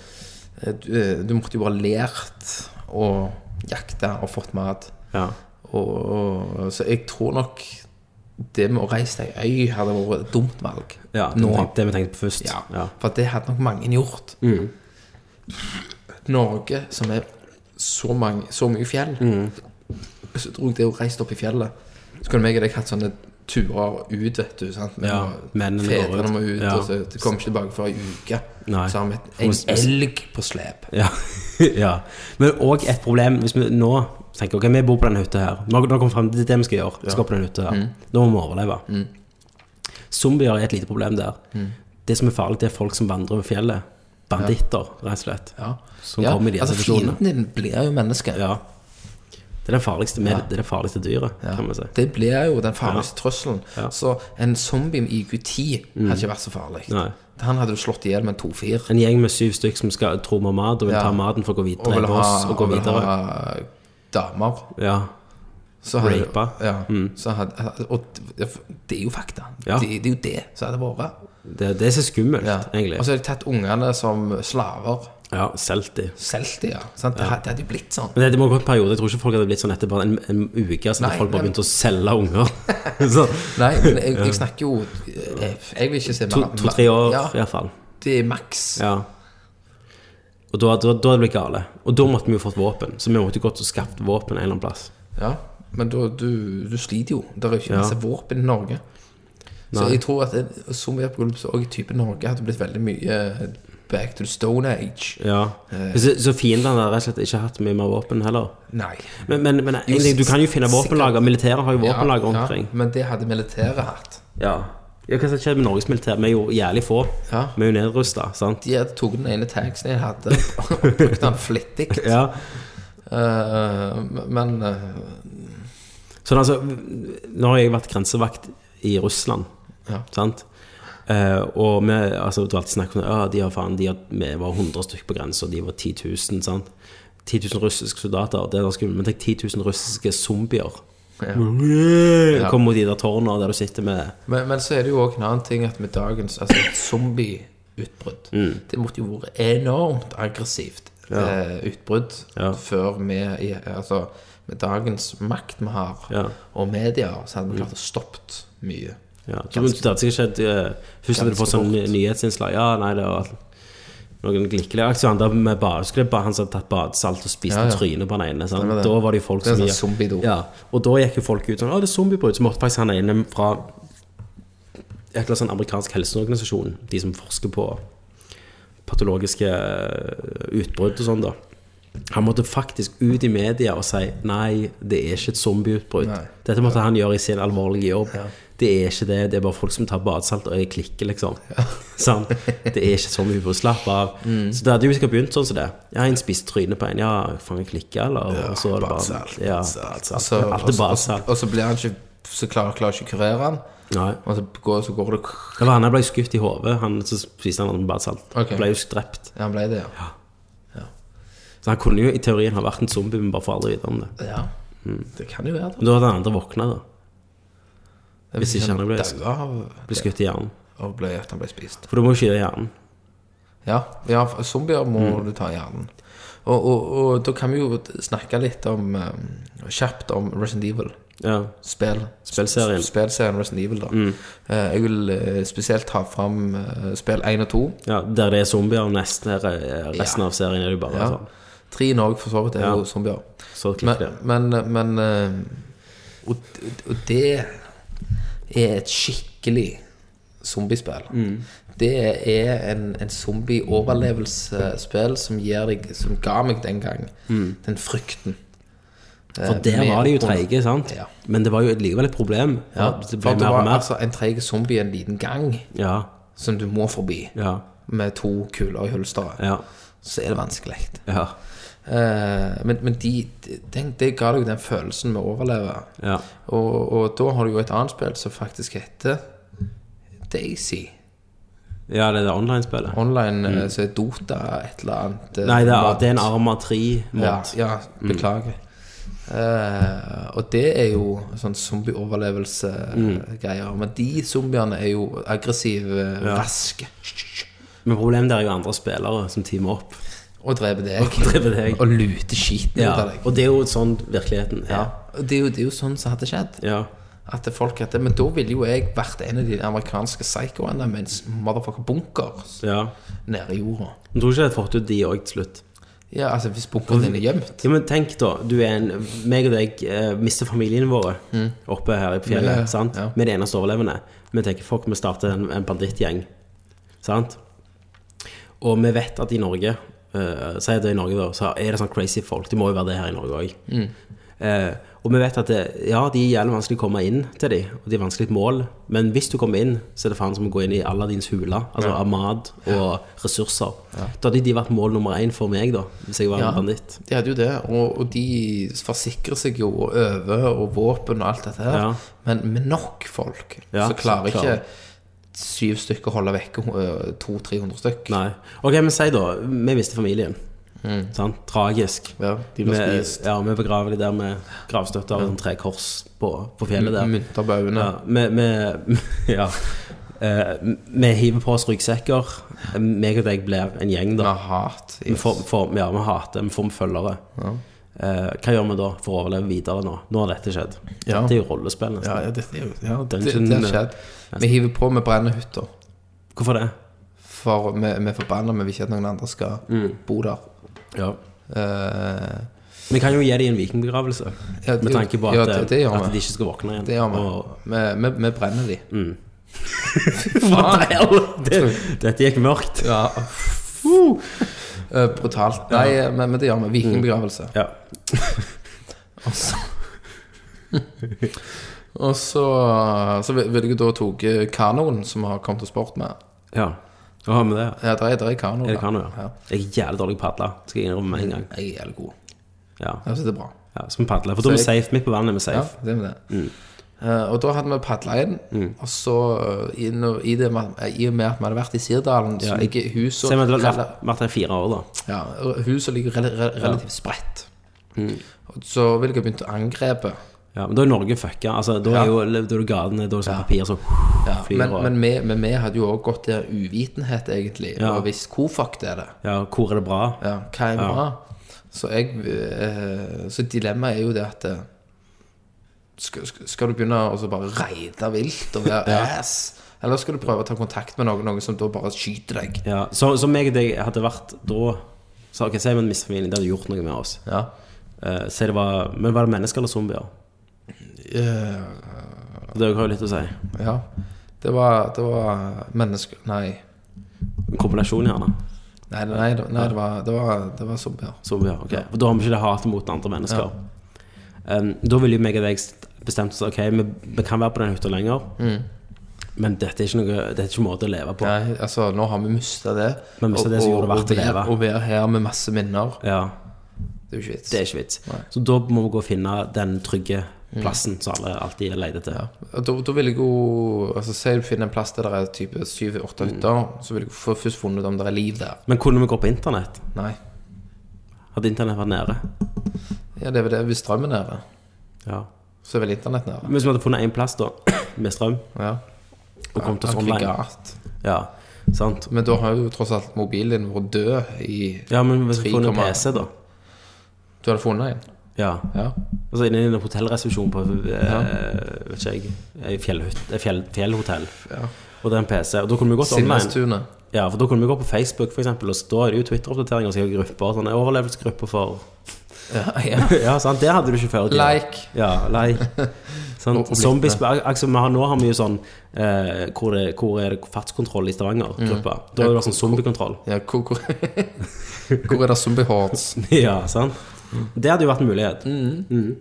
[SPEAKER 5] eh, du, du måtte jo bare lært å jakte og fått mat.
[SPEAKER 1] Ja.
[SPEAKER 5] Og, og, så jeg tror nok det med å reise til ei øy hadde vært et dumt valg.
[SPEAKER 1] ja det,
[SPEAKER 5] Nå.
[SPEAKER 1] vi tenkte, det vi tenkte på først.
[SPEAKER 5] Ja,
[SPEAKER 1] Ja. Mm.
[SPEAKER 5] For det hadde nok mange gjort. Norge, som er så, mange, så mye fjell,
[SPEAKER 1] Mm.
[SPEAKER 5] så tror jeg det å reise opp i fjellet Så kunne meg og deg hatt sånne turer ut, vet du. Sant? Men
[SPEAKER 1] Ja,
[SPEAKER 5] nå-
[SPEAKER 1] mennene går
[SPEAKER 5] fedrene
[SPEAKER 1] ut.
[SPEAKER 5] må ut,
[SPEAKER 1] Ja.
[SPEAKER 5] og så de kommer ikke tilbake for ei uke.
[SPEAKER 1] Nei.
[SPEAKER 5] Så har vi et-
[SPEAKER 1] Hos-
[SPEAKER 5] en elg på slep.
[SPEAKER 1] Ja. ja. Men òg et problem hvis vi nå tenker ok, vi bor på denne hytta her. Nå nå kom vi frem til det vi skal gjøre. Vi skal på denne hytta her.
[SPEAKER 5] Mm.
[SPEAKER 1] Nå må vi overleve. Zombier er et lite problem der.
[SPEAKER 5] Mm.
[SPEAKER 1] Det som er farlig, det er folk som vandrer over fjellet. Banditter, rett og slett.
[SPEAKER 5] Ja.
[SPEAKER 1] Som
[SPEAKER 5] ja,
[SPEAKER 1] kommer i de
[SPEAKER 5] altså,
[SPEAKER 1] situasjonene.
[SPEAKER 5] fienden din blir jo mennesket.
[SPEAKER 1] Ja. Det er det farligste, med, det er det farligste dyret,
[SPEAKER 5] Ja.
[SPEAKER 1] kan vi si.
[SPEAKER 5] Det blir jo den farligste trusselen.
[SPEAKER 1] Ja. Mm.
[SPEAKER 5] Så en zombie med IQ10 hadde ikke vært så farlig.
[SPEAKER 1] Nei.
[SPEAKER 5] Han hadde du slått ihjel med en 2-4.
[SPEAKER 1] En gjeng med syv stykk som skal tro vi har mat, og vil
[SPEAKER 5] Ja.
[SPEAKER 1] ta maten for å gå
[SPEAKER 5] Og
[SPEAKER 1] videre.
[SPEAKER 5] ville
[SPEAKER 1] drepe
[SPEAKER 5] ha,
[SPEAKER 1] oss, og gå
[SPEAKER 5] og ville
[SPEAKER 1] videre.
[SPEAKER 5] ha damer.
[SPEAKER 1] Ja.
[SPEAKER 5] Så hadde,
[SPEAKER 1] Rape. Mm.
[SPEAKER 5] Ja, så hadde, og det er jo fakta.
[SPEAKER 1] Ja.
[SPEAKER 5] Det, det er jo det som hadde vært.
[SPEAKER 1] Det, det er så skummelt,
[SPEAKER 5] Ja.
[SPEAKER 1] egentlig.
[SPEAKER 5] Og så har de tatt ungene som slaver.
[SPEAKER 1] ja, Selti.
[SPEAKER 5] Solgt de, ja. Sant? Det hadde- det hadde jo blitt sånn.
[SPEAKER 1] Men det, det må gå en periode. Jeg tror ikke folk hadde blitt sånn etter bare en, en uke. Så hadde
[SPEAKER 5] Nei,
[SPEAKER 1] folk bare
[SPEAKER 5] men-
[SPEAKER 1] begynt å selge unger. så,
[SPEAKER 5] Nei, men jeg, jeg snakker jo Jeg, jeg vil ikke se mer-
[SPEAKER 1] To-tre år i
[SPEAKER 5] Ja,
[SPEAKER 1] hvert fall.
[SPEAKER 5] det er maks.
[SPEAKER 1] Ja. Og da, da, da hadde det blitt gale. Og da måtte vi jo fått våpen. Så vi måtte jo gått og skapt våpen en eller annen plass.
[SPEAKER 5] Ja, men da, du, du sliter jo. Det er jo ikke
[SPEAKER 1] Ja.
[SPEAKER 5] masse våpen i Norge. Så
[SPEAKER 1] Nei.
[SPEAKER 5] jeg tror at eh, en zombieapokalypse også i type Norge hadde blitt veldig mye eh, back to the stone age.
[SPEAKER 1] Ja.
[SPEAKER 5] Eh.
[SPEAKER 1] Så, så fiendene hadde rett og slett ikke hatt mye mer våpen heller.
[SPEAKER 5] Nei.
[SPEAKER 1] Men, men, men
[SPEAKER 5] Jo,
[SPEAKER 1] en ting, du kan jo finne
[SPEAKER 5] sikkert.
[SPEAKER 1] våpenlager. Militæret har jo våpenlager
[SPEAKER 5] Ja,
[SPEAKER 1] omkring.
[SPEAKER 5] Ja, men det hadde militæret hatt.
[SPEAKER 1] Ja. ja. Hva som skjedde med Norges militær? Vi er jo jævlig få.
[SPEAKER 5] Ja.
[SPEAKER 1] Vi er jo nedrusta, sant?
[SPEAKER 5] De hadde tatt den ene tanksen jeg hadde, og brukte den flittig.
[SPEAKER 1] Ja.
[SPEAKER 5] Eh, men eh,
[SPEAKER 1] Sånn altså, nå har jeg vært grensevakt i Russland,
[SPEAKER 5] Ja.
[SPEAKER 1] sant? Eh, og vi, altså, du har alltid snakket om «Ja, de har faen, de har, vi var 100 stykker på grensa, de var 10 000, sant? 10 000 russiske soldater, det er ganske skummelt, men tenk 10 000 russiske zombier.
[SPEAKER 5] Ja.
[SPEAKER 1] Ja. Kommer mot de der tårnene der du sitter med
[SPEAKER 5] Men, men så er det jo òg en annen ting at med dagens altså et zombieutbrudd
[SPEAKER 1] Mm.
[SPEAKER 5] Det måtte jo vært enormt aggressivt eh, utbrudd
[SPEAKER 1] Ja.
[SPEAKER 5] før vi i- Altså med dagens makt vi har,
[SPEAKER 1] Ja.
[SPEAKER 5] og media, så hadde vi klart å stoppe mye.
[SPEAKER 1] ja. Så, men, Det hadde sikkert skjedd eh, Først hadde du fått sånn ny- nyhetsinnslag Ja, nei, det var noen glikkelig aksjon Da med bad, skulle bare han som hadde tatt badesalt Og spiste
[SPEAKER 5] Ja, ja.
[SPEAKER 1] trynet på den ene sant?
[SPEAKER 5] var det.
[SPEAKER 1] Da var det jo folk
[SPEAKER 5] Det er
[SPEAKER 1] som
[SPEAKER 5] sånn
[SPEAKER 1] gikk-
[SPEAKER 5] zombie-dop.
[SPEAKER 1] ja. Og da gikk jo folk ut sånn Å, det er zombiebrud Så måtte faktisk han ene fra Et eller annet sånn amerikansk helseorganisasjon De som forsker på patologiske eh, utbrudd og sånn da han måtte faktisk ut i media og si Nei, det er ikke et zombieutbrudd
[SPEAKER 5] Nei.
[SPEAKER 1] Dette måtte han gjøre i sin alvorlige jobb Det er ikke det, det er bare folk som tar badesalt Og jeg klikker liksom Sånn, Det er ikke et zombieutbrudd, slapp av
[SPEAKER 5] Mm.
[SPEAKER 1] Så det hadde jo sikkert begynt sånn som det Ja, en spiste trynet på en, ja, faen jeg klikker eller Og så er det bare
[SPEAKER 2] badesalt,
[SPEAKER 1] ja,
[SPEAKER 5] Altså,
[SPEAKER 1] badesalt. Alt
[SPEAKER 5] og
[SPEAKER 1] er
[SPEAKER 5] så-
[SPEAKER 1] badesalt
[SPEAKER 5] Og så blir han ikke Så klarer, klarer ikke å kurere han,
[SPEAKER 1] Nei
[SPEAKER 5] og så går, så går det
[SPEAKER 1] det var han han ble skutt i hodet Han så spiste han badesalt
[SPEAKER 5] Ok.
[SPEAKER 1] Ble jo drept
[SPEAKER 5] Ja, han ble det, ja.
[SPEAKER 1] Så han kunne jo i teorien ha vært en zombie Men bare for aldri vite om det
[SPEAKER 5] ja. Mm. Det kan jo være, da.
[SPEAKER 1] Men da hadde den andre våkna da Hvis ikke han ble-
[SPEAKER 5] daua av
[SPEAKER 1] Ble skutt i hjernen
[SPEAKER 5] og ble, at han ble spist.
[SPEAKER 1] For du må skyte i hjernen
[SPEAKER 5] Ja, ja for zombier må
[SPEAKER 1] Mm.
[SPEAKER 5] du ta i hjernen. Og, og, og da kan vi jo snakke litt om eh, kjapt om Resident Evil.
[SPEAKER 1] Ja,
[SPEAKER 5] Spill.
[SPEAKER 1] Spillserien. Mm.
[SPEAKER 5] S- Spillserien Resident Evil, da. Eh, jeg vil eh, spesielt ta fram eh, spill 1 og 2.
[SPEAKER 1] ja der det er zombier og nesten er, er resten av serien er det jo bare
[SPEAKER 5] Ja.
[SPEAKER 1] sånn.
[SPEAKER 5] 3 Altså, i Norge, for så vidt, er
[SPEAKER 1] Ja.
[SPEAKER 5] jo zombier.
[SPEAKER 1] Så klikk
[SPEAKER 5] Men,
[SPEAKER 1] det.
[SPEAKER 5] men, men eh, og, og det er et skikkelig zombiespill.
[SPEAKER 1] Mm.
[SPEAKER 5] Det er en, en zombie-overlevelsesspill som, gir deg- som ga meg den gang den frykten.
[SPEAKER 1] Mm.
[SPEAKER 5] Eh,
[SPEAKER 1] For der var de jo treige, sant?
[SPEAKER 5] Ja.
[SPEAKER 1] Men det var jo et- likevel et problem.
[SPEAKER 5] Ja,
[SPEAKER 1] det ble
[SPEAKER 5] for det
[SPEAKER 1] mer og
[SPEAKER 5] var
[SPEAKER 1] mer.
[SPEAKER 5] altså en treig zombie en liten gang
[SPEAKER 1] Ja,
[SPEAKER 5] som du må forbi
[SPEAKER 1] ja,
[SPEAKER 5] med to kuler i hylsteret.
[SPEAKER 1] ja.
[SPEAKER 5] Så er det vanskelig.
[SPEAKER 1] Ja,
[SPEAKER 5] Eh, men men de, de, den- det ga deg den følelsen med å overleve.
[SPEAKER 1] ja.
[SPEAKER 5] Og, og da har du jo et annet spill som faktisk heter Daisy.
[SPEAKER 1] ja det er det online-spillet.
[SPEAKER 5] Online eh, så er Dota et eller annet eh,
[SPEAKER 1] Mm. Nei, det er,
[SPEAKER 5] mod.
[SPEAKER 1] det er en Mm. Arma 3-mod.
[SPEAKER 5] ja, ja, beklager. Eh, og det er jo sånn zombie-overlevelse-greier. Men de zombiene er jo aggressive, raske.
[SPEAKER 1] Men problemet der er jo andre spillere som teamer opp.
[SPEAKER 5] Og dreper deg. Og,
[SPEAKER 1] dreper deg.
[SPEAKER 5] luter skiten
[SPEAKER 1] Ja,
[SPEAKER 5] ut av deg.
[SPEAKER 1] og det er jo sånn virkeligheten
[SPEAKER 5] Ja.
[SPEAKER 1] er.
[SPEAKER 5] Og det, er jo, det er jo sånn som hadde skjedd.
[SPEAKER 1] Ja.
[SPEAKER 5] At det folk heter, Men da ville jo jeg vært en av de amerikanske psychoene med en motherfucker bunker
[SPEAKER 1] ja.
[SPEAKER 5] nede i jorda.
[SPEAKER 1] Men tror du ikke jeg hadde fått ut de òg til slutt?
[SPEAKER 5] Ja, altså hvis bunkeren din er gjemt.
[SPEAKER 1] Ja, men tenk da, du er en Meg og deg eh, mister familien våre Oppe her i fjellet,
[SPEAKER 5] Ja, ja,
[SPEAKER 1] sant?
[SPEAKER 5] Mm. ja.
[SPEAKER 1] Vi er det eneste overlevende Vi tenker, fuck, vi starter en, en bandittgjeng Sant? Og vi vet at i Norge uh, Sier det i Norge da, så er det sånn crazy folk Det må jo være det her i Norge også
[SPEAKER 5] Mm.
[SPEAKER 1] Eh, og vi vet at det, ja, de er jævlig vanskelig å komme inn til de, og de er vanskelig et mål, men hvis du kommer inn, så er det faen som å gå inn i Aladdins hule, altså av mat og ressurser. Da hadde de vært mål nummer én for meg da, hvis jeg var
[SPEAKER 5] Ja.
[SPEAKER 1] en banditt.
[SPEAKER 5] De hadde jo det, og, og de forsikrer seg jo og øver og våpen og alt dette her.
[SPEAKER 1] Ja.
[SPEAKER 5] Men med nok folk
[SPEAKER 1] Ja,
[SPEAKER 5] så klarer
[SPEAKER 1] så
[SPEAKER 5] ikke syv stykker å holde eh, vekke 200-300 stykker.
[SPEAKER 1] Nei. Ok, men si da, vi mister familien.
[SPEAKER 5] Mm.
[SPEAKER 1] Sant? Tragisk.
[SPEAKER 5] Ja, de blir
[SPEAKER 1] Vi-
[SPEAKER 5] spist.
[SPEAKER 1] ja, vi begraver de der med gravstøtter og sånn tre kors på, på fjellet
[SPEAKER 5] Mm.
[SPEAKER 1] der.
[SPEAKER 5] Munterbauene.
[SPEAKER 1] Ja, vi, vi, ja. Eh, vi hiver på oss ryggsekker. Meg og deg blir en gjeng, da.
[SPEAKER 5] Med hat.
[SPEAKER 1] Vi, får, får, ja, vi hater, vi får følgere. Eh, hva gjør vi da for å overleve videre nå? Nå har dette skjedd.
[SPEAKER 5] Ja.
[SPEAKER 1] Dette er jo rollespill,
[SPEAKER 5] Ja,
[SPEAKER 1] nesten.
[SPEAKER 5] ja, dette er jo ja, det, det
[SPEAKER 1] Dungeon-
[SPEAKER 5] har skjedd. Vi hiver på med brennehytter.
[SPEAKER 1] Hvorfor det?
[SPEAKER 5] For vi vi er forbanna, men vi vil ikke at noen andre skal
[SPEAKER 1] Mm.
[SPEAKER 5] bo der.
[SPEAKER 1] Ja.
[SPEAKER 5] Eh,
[SPEAKER 1] Vi kan jo gi dem en vikingbegravelse,
[SPEAKER 5] Ja, det-
[SPEAKER 1] med tanke på at,
[SPEAKER 5] ja, det- det gjør
[SPEAKER 1] at
[SPEAKER 5] vi.
[SPEAKER 1] de ikke skal våkne igjen.
[SPEAKER 5] det gjør vi.
[SPEAKER 1] Og, Mm.
[SPEAKER 5] Vi, vi, vi brenner de.
[SPEAKER 1] Faen, det, dette gikk mørkt.
[SPEAKER 5] Ja. Eh, brutalt. Nei, eh, men, men det gjør vi.
[SPEAKER 1] Mm.
[SPEAKER 5] Vikingbegravelse.
[SPEAKER 1] Ja.
[SPEAKER 5] Og så Og så, så vil- ville jeg da tatt kanoen som har kommet til sport med.
[SPEAKER 1] ja. Hva har vi det?
[SPEAKER 5] Ja, der er, der er kanoen.
[SPEAKER 1] Er det kano,
[SPEAKER 5] ja. Mm.
[SPEAKER 1] ja? Jeg er jævlig dårlig på å padle, skal jeg innrømme med en gang.
[SPEAKER 5] Jeg er jævlig god.
[SPEAKER 1] Ja,
[SPEAKER 5] Altså, det er bra.
[SPEAKER 1] ja Så vi padler. For da er vi
[SPEAKER 5] Så
[SPEAKER 1] safe. Midt på vannet er vi
[SPEAKER 5] Ja,
[SPEAKER 1] safe.
[SPEAKER 5] det er med det. Eh, og da hadde vi padla inn, og så eh, inn, og- i, det, med- eh, i og med at vi hadde vært i Sirdalen, så
[SPEAKER 1] Ja,
[SPEAKER 5] ligger huset
[SPEAKER 1] Se om vi hadde
[SPEAKER 5] rela-
[SPEAKER 1] vært- vært her i fire år, da.
[SPEAKER 5] ja, Huset ligger rel rel relativt spredt. Mm. Og så ville jeg begynt å angrepe.
[SPEAKER 1] Ja, men da er Norge fucka. Altså, da
[SPEAKER 5] Ja.
[SPEAKER 1] er jo da er det gatene, da er det sånn papir som
[SPEAKER 5] Ja,
[SPEAKER 1] flyr
[SPEAKER 5] men,
[SPEAKER 1] og
[SPEAKER 5] men, vi, men vi hadde jo også gått der uvitenhet, egentlig,
[SPEAKER 1] Ja.
[SPEAKER 5] og visst hvor fuck det er det.
[SPEAKER 1] Ja, hvor er det bra?
[SPEAKER 5] Ja, hva er bra? Så, jeg, eh, så dilemmaet er jo det at eh, skal, skal- skal du begynne å så bare reide vilt og være ass? Eller skal du prøve å ta kontakt med noen, noen som da bare skyter deg?
[SPEAKER 1] Ja, så, så meg og deg hadde vært da Så ok, si vi en misfamilie, det hadde gjort noe med oss.
[SPEAKER 5] Ja.
[SPEAKER 1] Eh, si det var, men var det mennesker eller zombier?
[SPEAKER 5] Eh,
[SPEAKER 1] Det har jo litt å si.
[SPEAKER 5] ja. Det var, det var mennesker Nei.
[SPEAKER 1] En kombinasjon, gjerne.
[SPEAKER 5] Nei, nei, nei, det- nei det, var, det, var, det var zombier.
[SPEAKER 1] Zombier, ok For Da har vi ikke det hatet mot andre mennesker. Um, da ville jo meg og deg bestemt oss Ok, vi, vi kan være på den hytta lenger,
[SPEAKER 5] Mm.
[SPEAKER 1] men dette er ikke noe Dette er ikke en måte å leve på.
[SPEAKER 5] Nei, altså, nå har vi mista det.
[SPEAKER 1] Vi mistet det som gjorde det verdt å
[SPEAKER 5] å være-
[SPEAKER 1] leve.
[SPEAKER 5] Å være her med masse minner,
[SPEAKER 1] Ja,
[SPEAKER 5] det er jo ikke vits.
[SPEAKER 1] Det er ikke vits.
[SPEAKER 5] Nei. Mm.
[SPEAKER 1] Så da må vi gå og finne den trygge plassen som alle alltid leter etter.
[SPEAKER 5] Ja. Og Da, da vil jeg jo altså, Si du finner en plass der det er type syv-åtte
[SPEAKER 1] Mm.
[SPEAKER 5] hytter, så vil jeg få først funnet ut om det er liv der.
[SPEAKER 1] Men kunne vi gå på internett?
[SPEAKER 5] Nei.
[SPEAKER 1] Hadde internett vært nede?
[SPEAKER 5] Ja, det er vel det. Hvis strømmen er nede,
[SPEAKER 1] Ja.
[SPEAKER 5] så er vel internett nede.
[SPEAKER 1] Hvis vi hadde funnet én plass, da, med strøm,
[SPEAKER 5] Ja.
[SPEAKER 1] og kommet oss online
[SPEAKER 5] Aggregat.
[SPEAKER 1] Ja, sant?
[SPEAKER 5] Men da har jo tross alt mobilen din vært død i
[SPEAKER 1] Ja, men hvis vi hadde funnet
[SPEAKER 5] 3,1.
[SPEAKER 1] PC, da
[SPEAKER 5] Du hadde funnet en?
[SPEAKER 1] Ja.
[SPEAKER 5] Ja.
[SPEAKER 1] Altså inne i en hotellresepsjon på eh, vet ikke jeg, ei fjellhytt- et fjell, fjellhotell.
[SPEAKER 5] ja.
[SPEAKER 1] Og det er en PC. Og da kunne vi gått online.
[SPEAKER 5] Silvestunet.
[SPEAKER 1] Ja, for da kunne vi gå på Facebook, for eksempel, og så da er det jo Twitter-oppdateringer og sikkert grupper. Sånn overlevelsesgrupper for
[SPEAKER 5] Ja, ja.
[SPEAKER 1] Ja, sant? Det hadde du ikke før. i tida.
[SPEAKER 5] Like.
[SPEAKER 1] Ja, like. Sant?
[SPEAKER 5] Og- og
[SPEAKER 1] Zombies altså, vi har, Nå har vi jo sånn eh, hvor, det, hvor er det fartskontroll i
[SPEAKER 5] Mm.
[SPEAKER 1] Stavanger-gruppa? Da er det sånn zombiekontroll.
[SPEAKER 5] ja hvor, hvor, hvor er det zombie hordes?
[SPEAKER 1] ja, sant? Det hadde jo vært en mulighet.
[SPEAKER 5] Mm.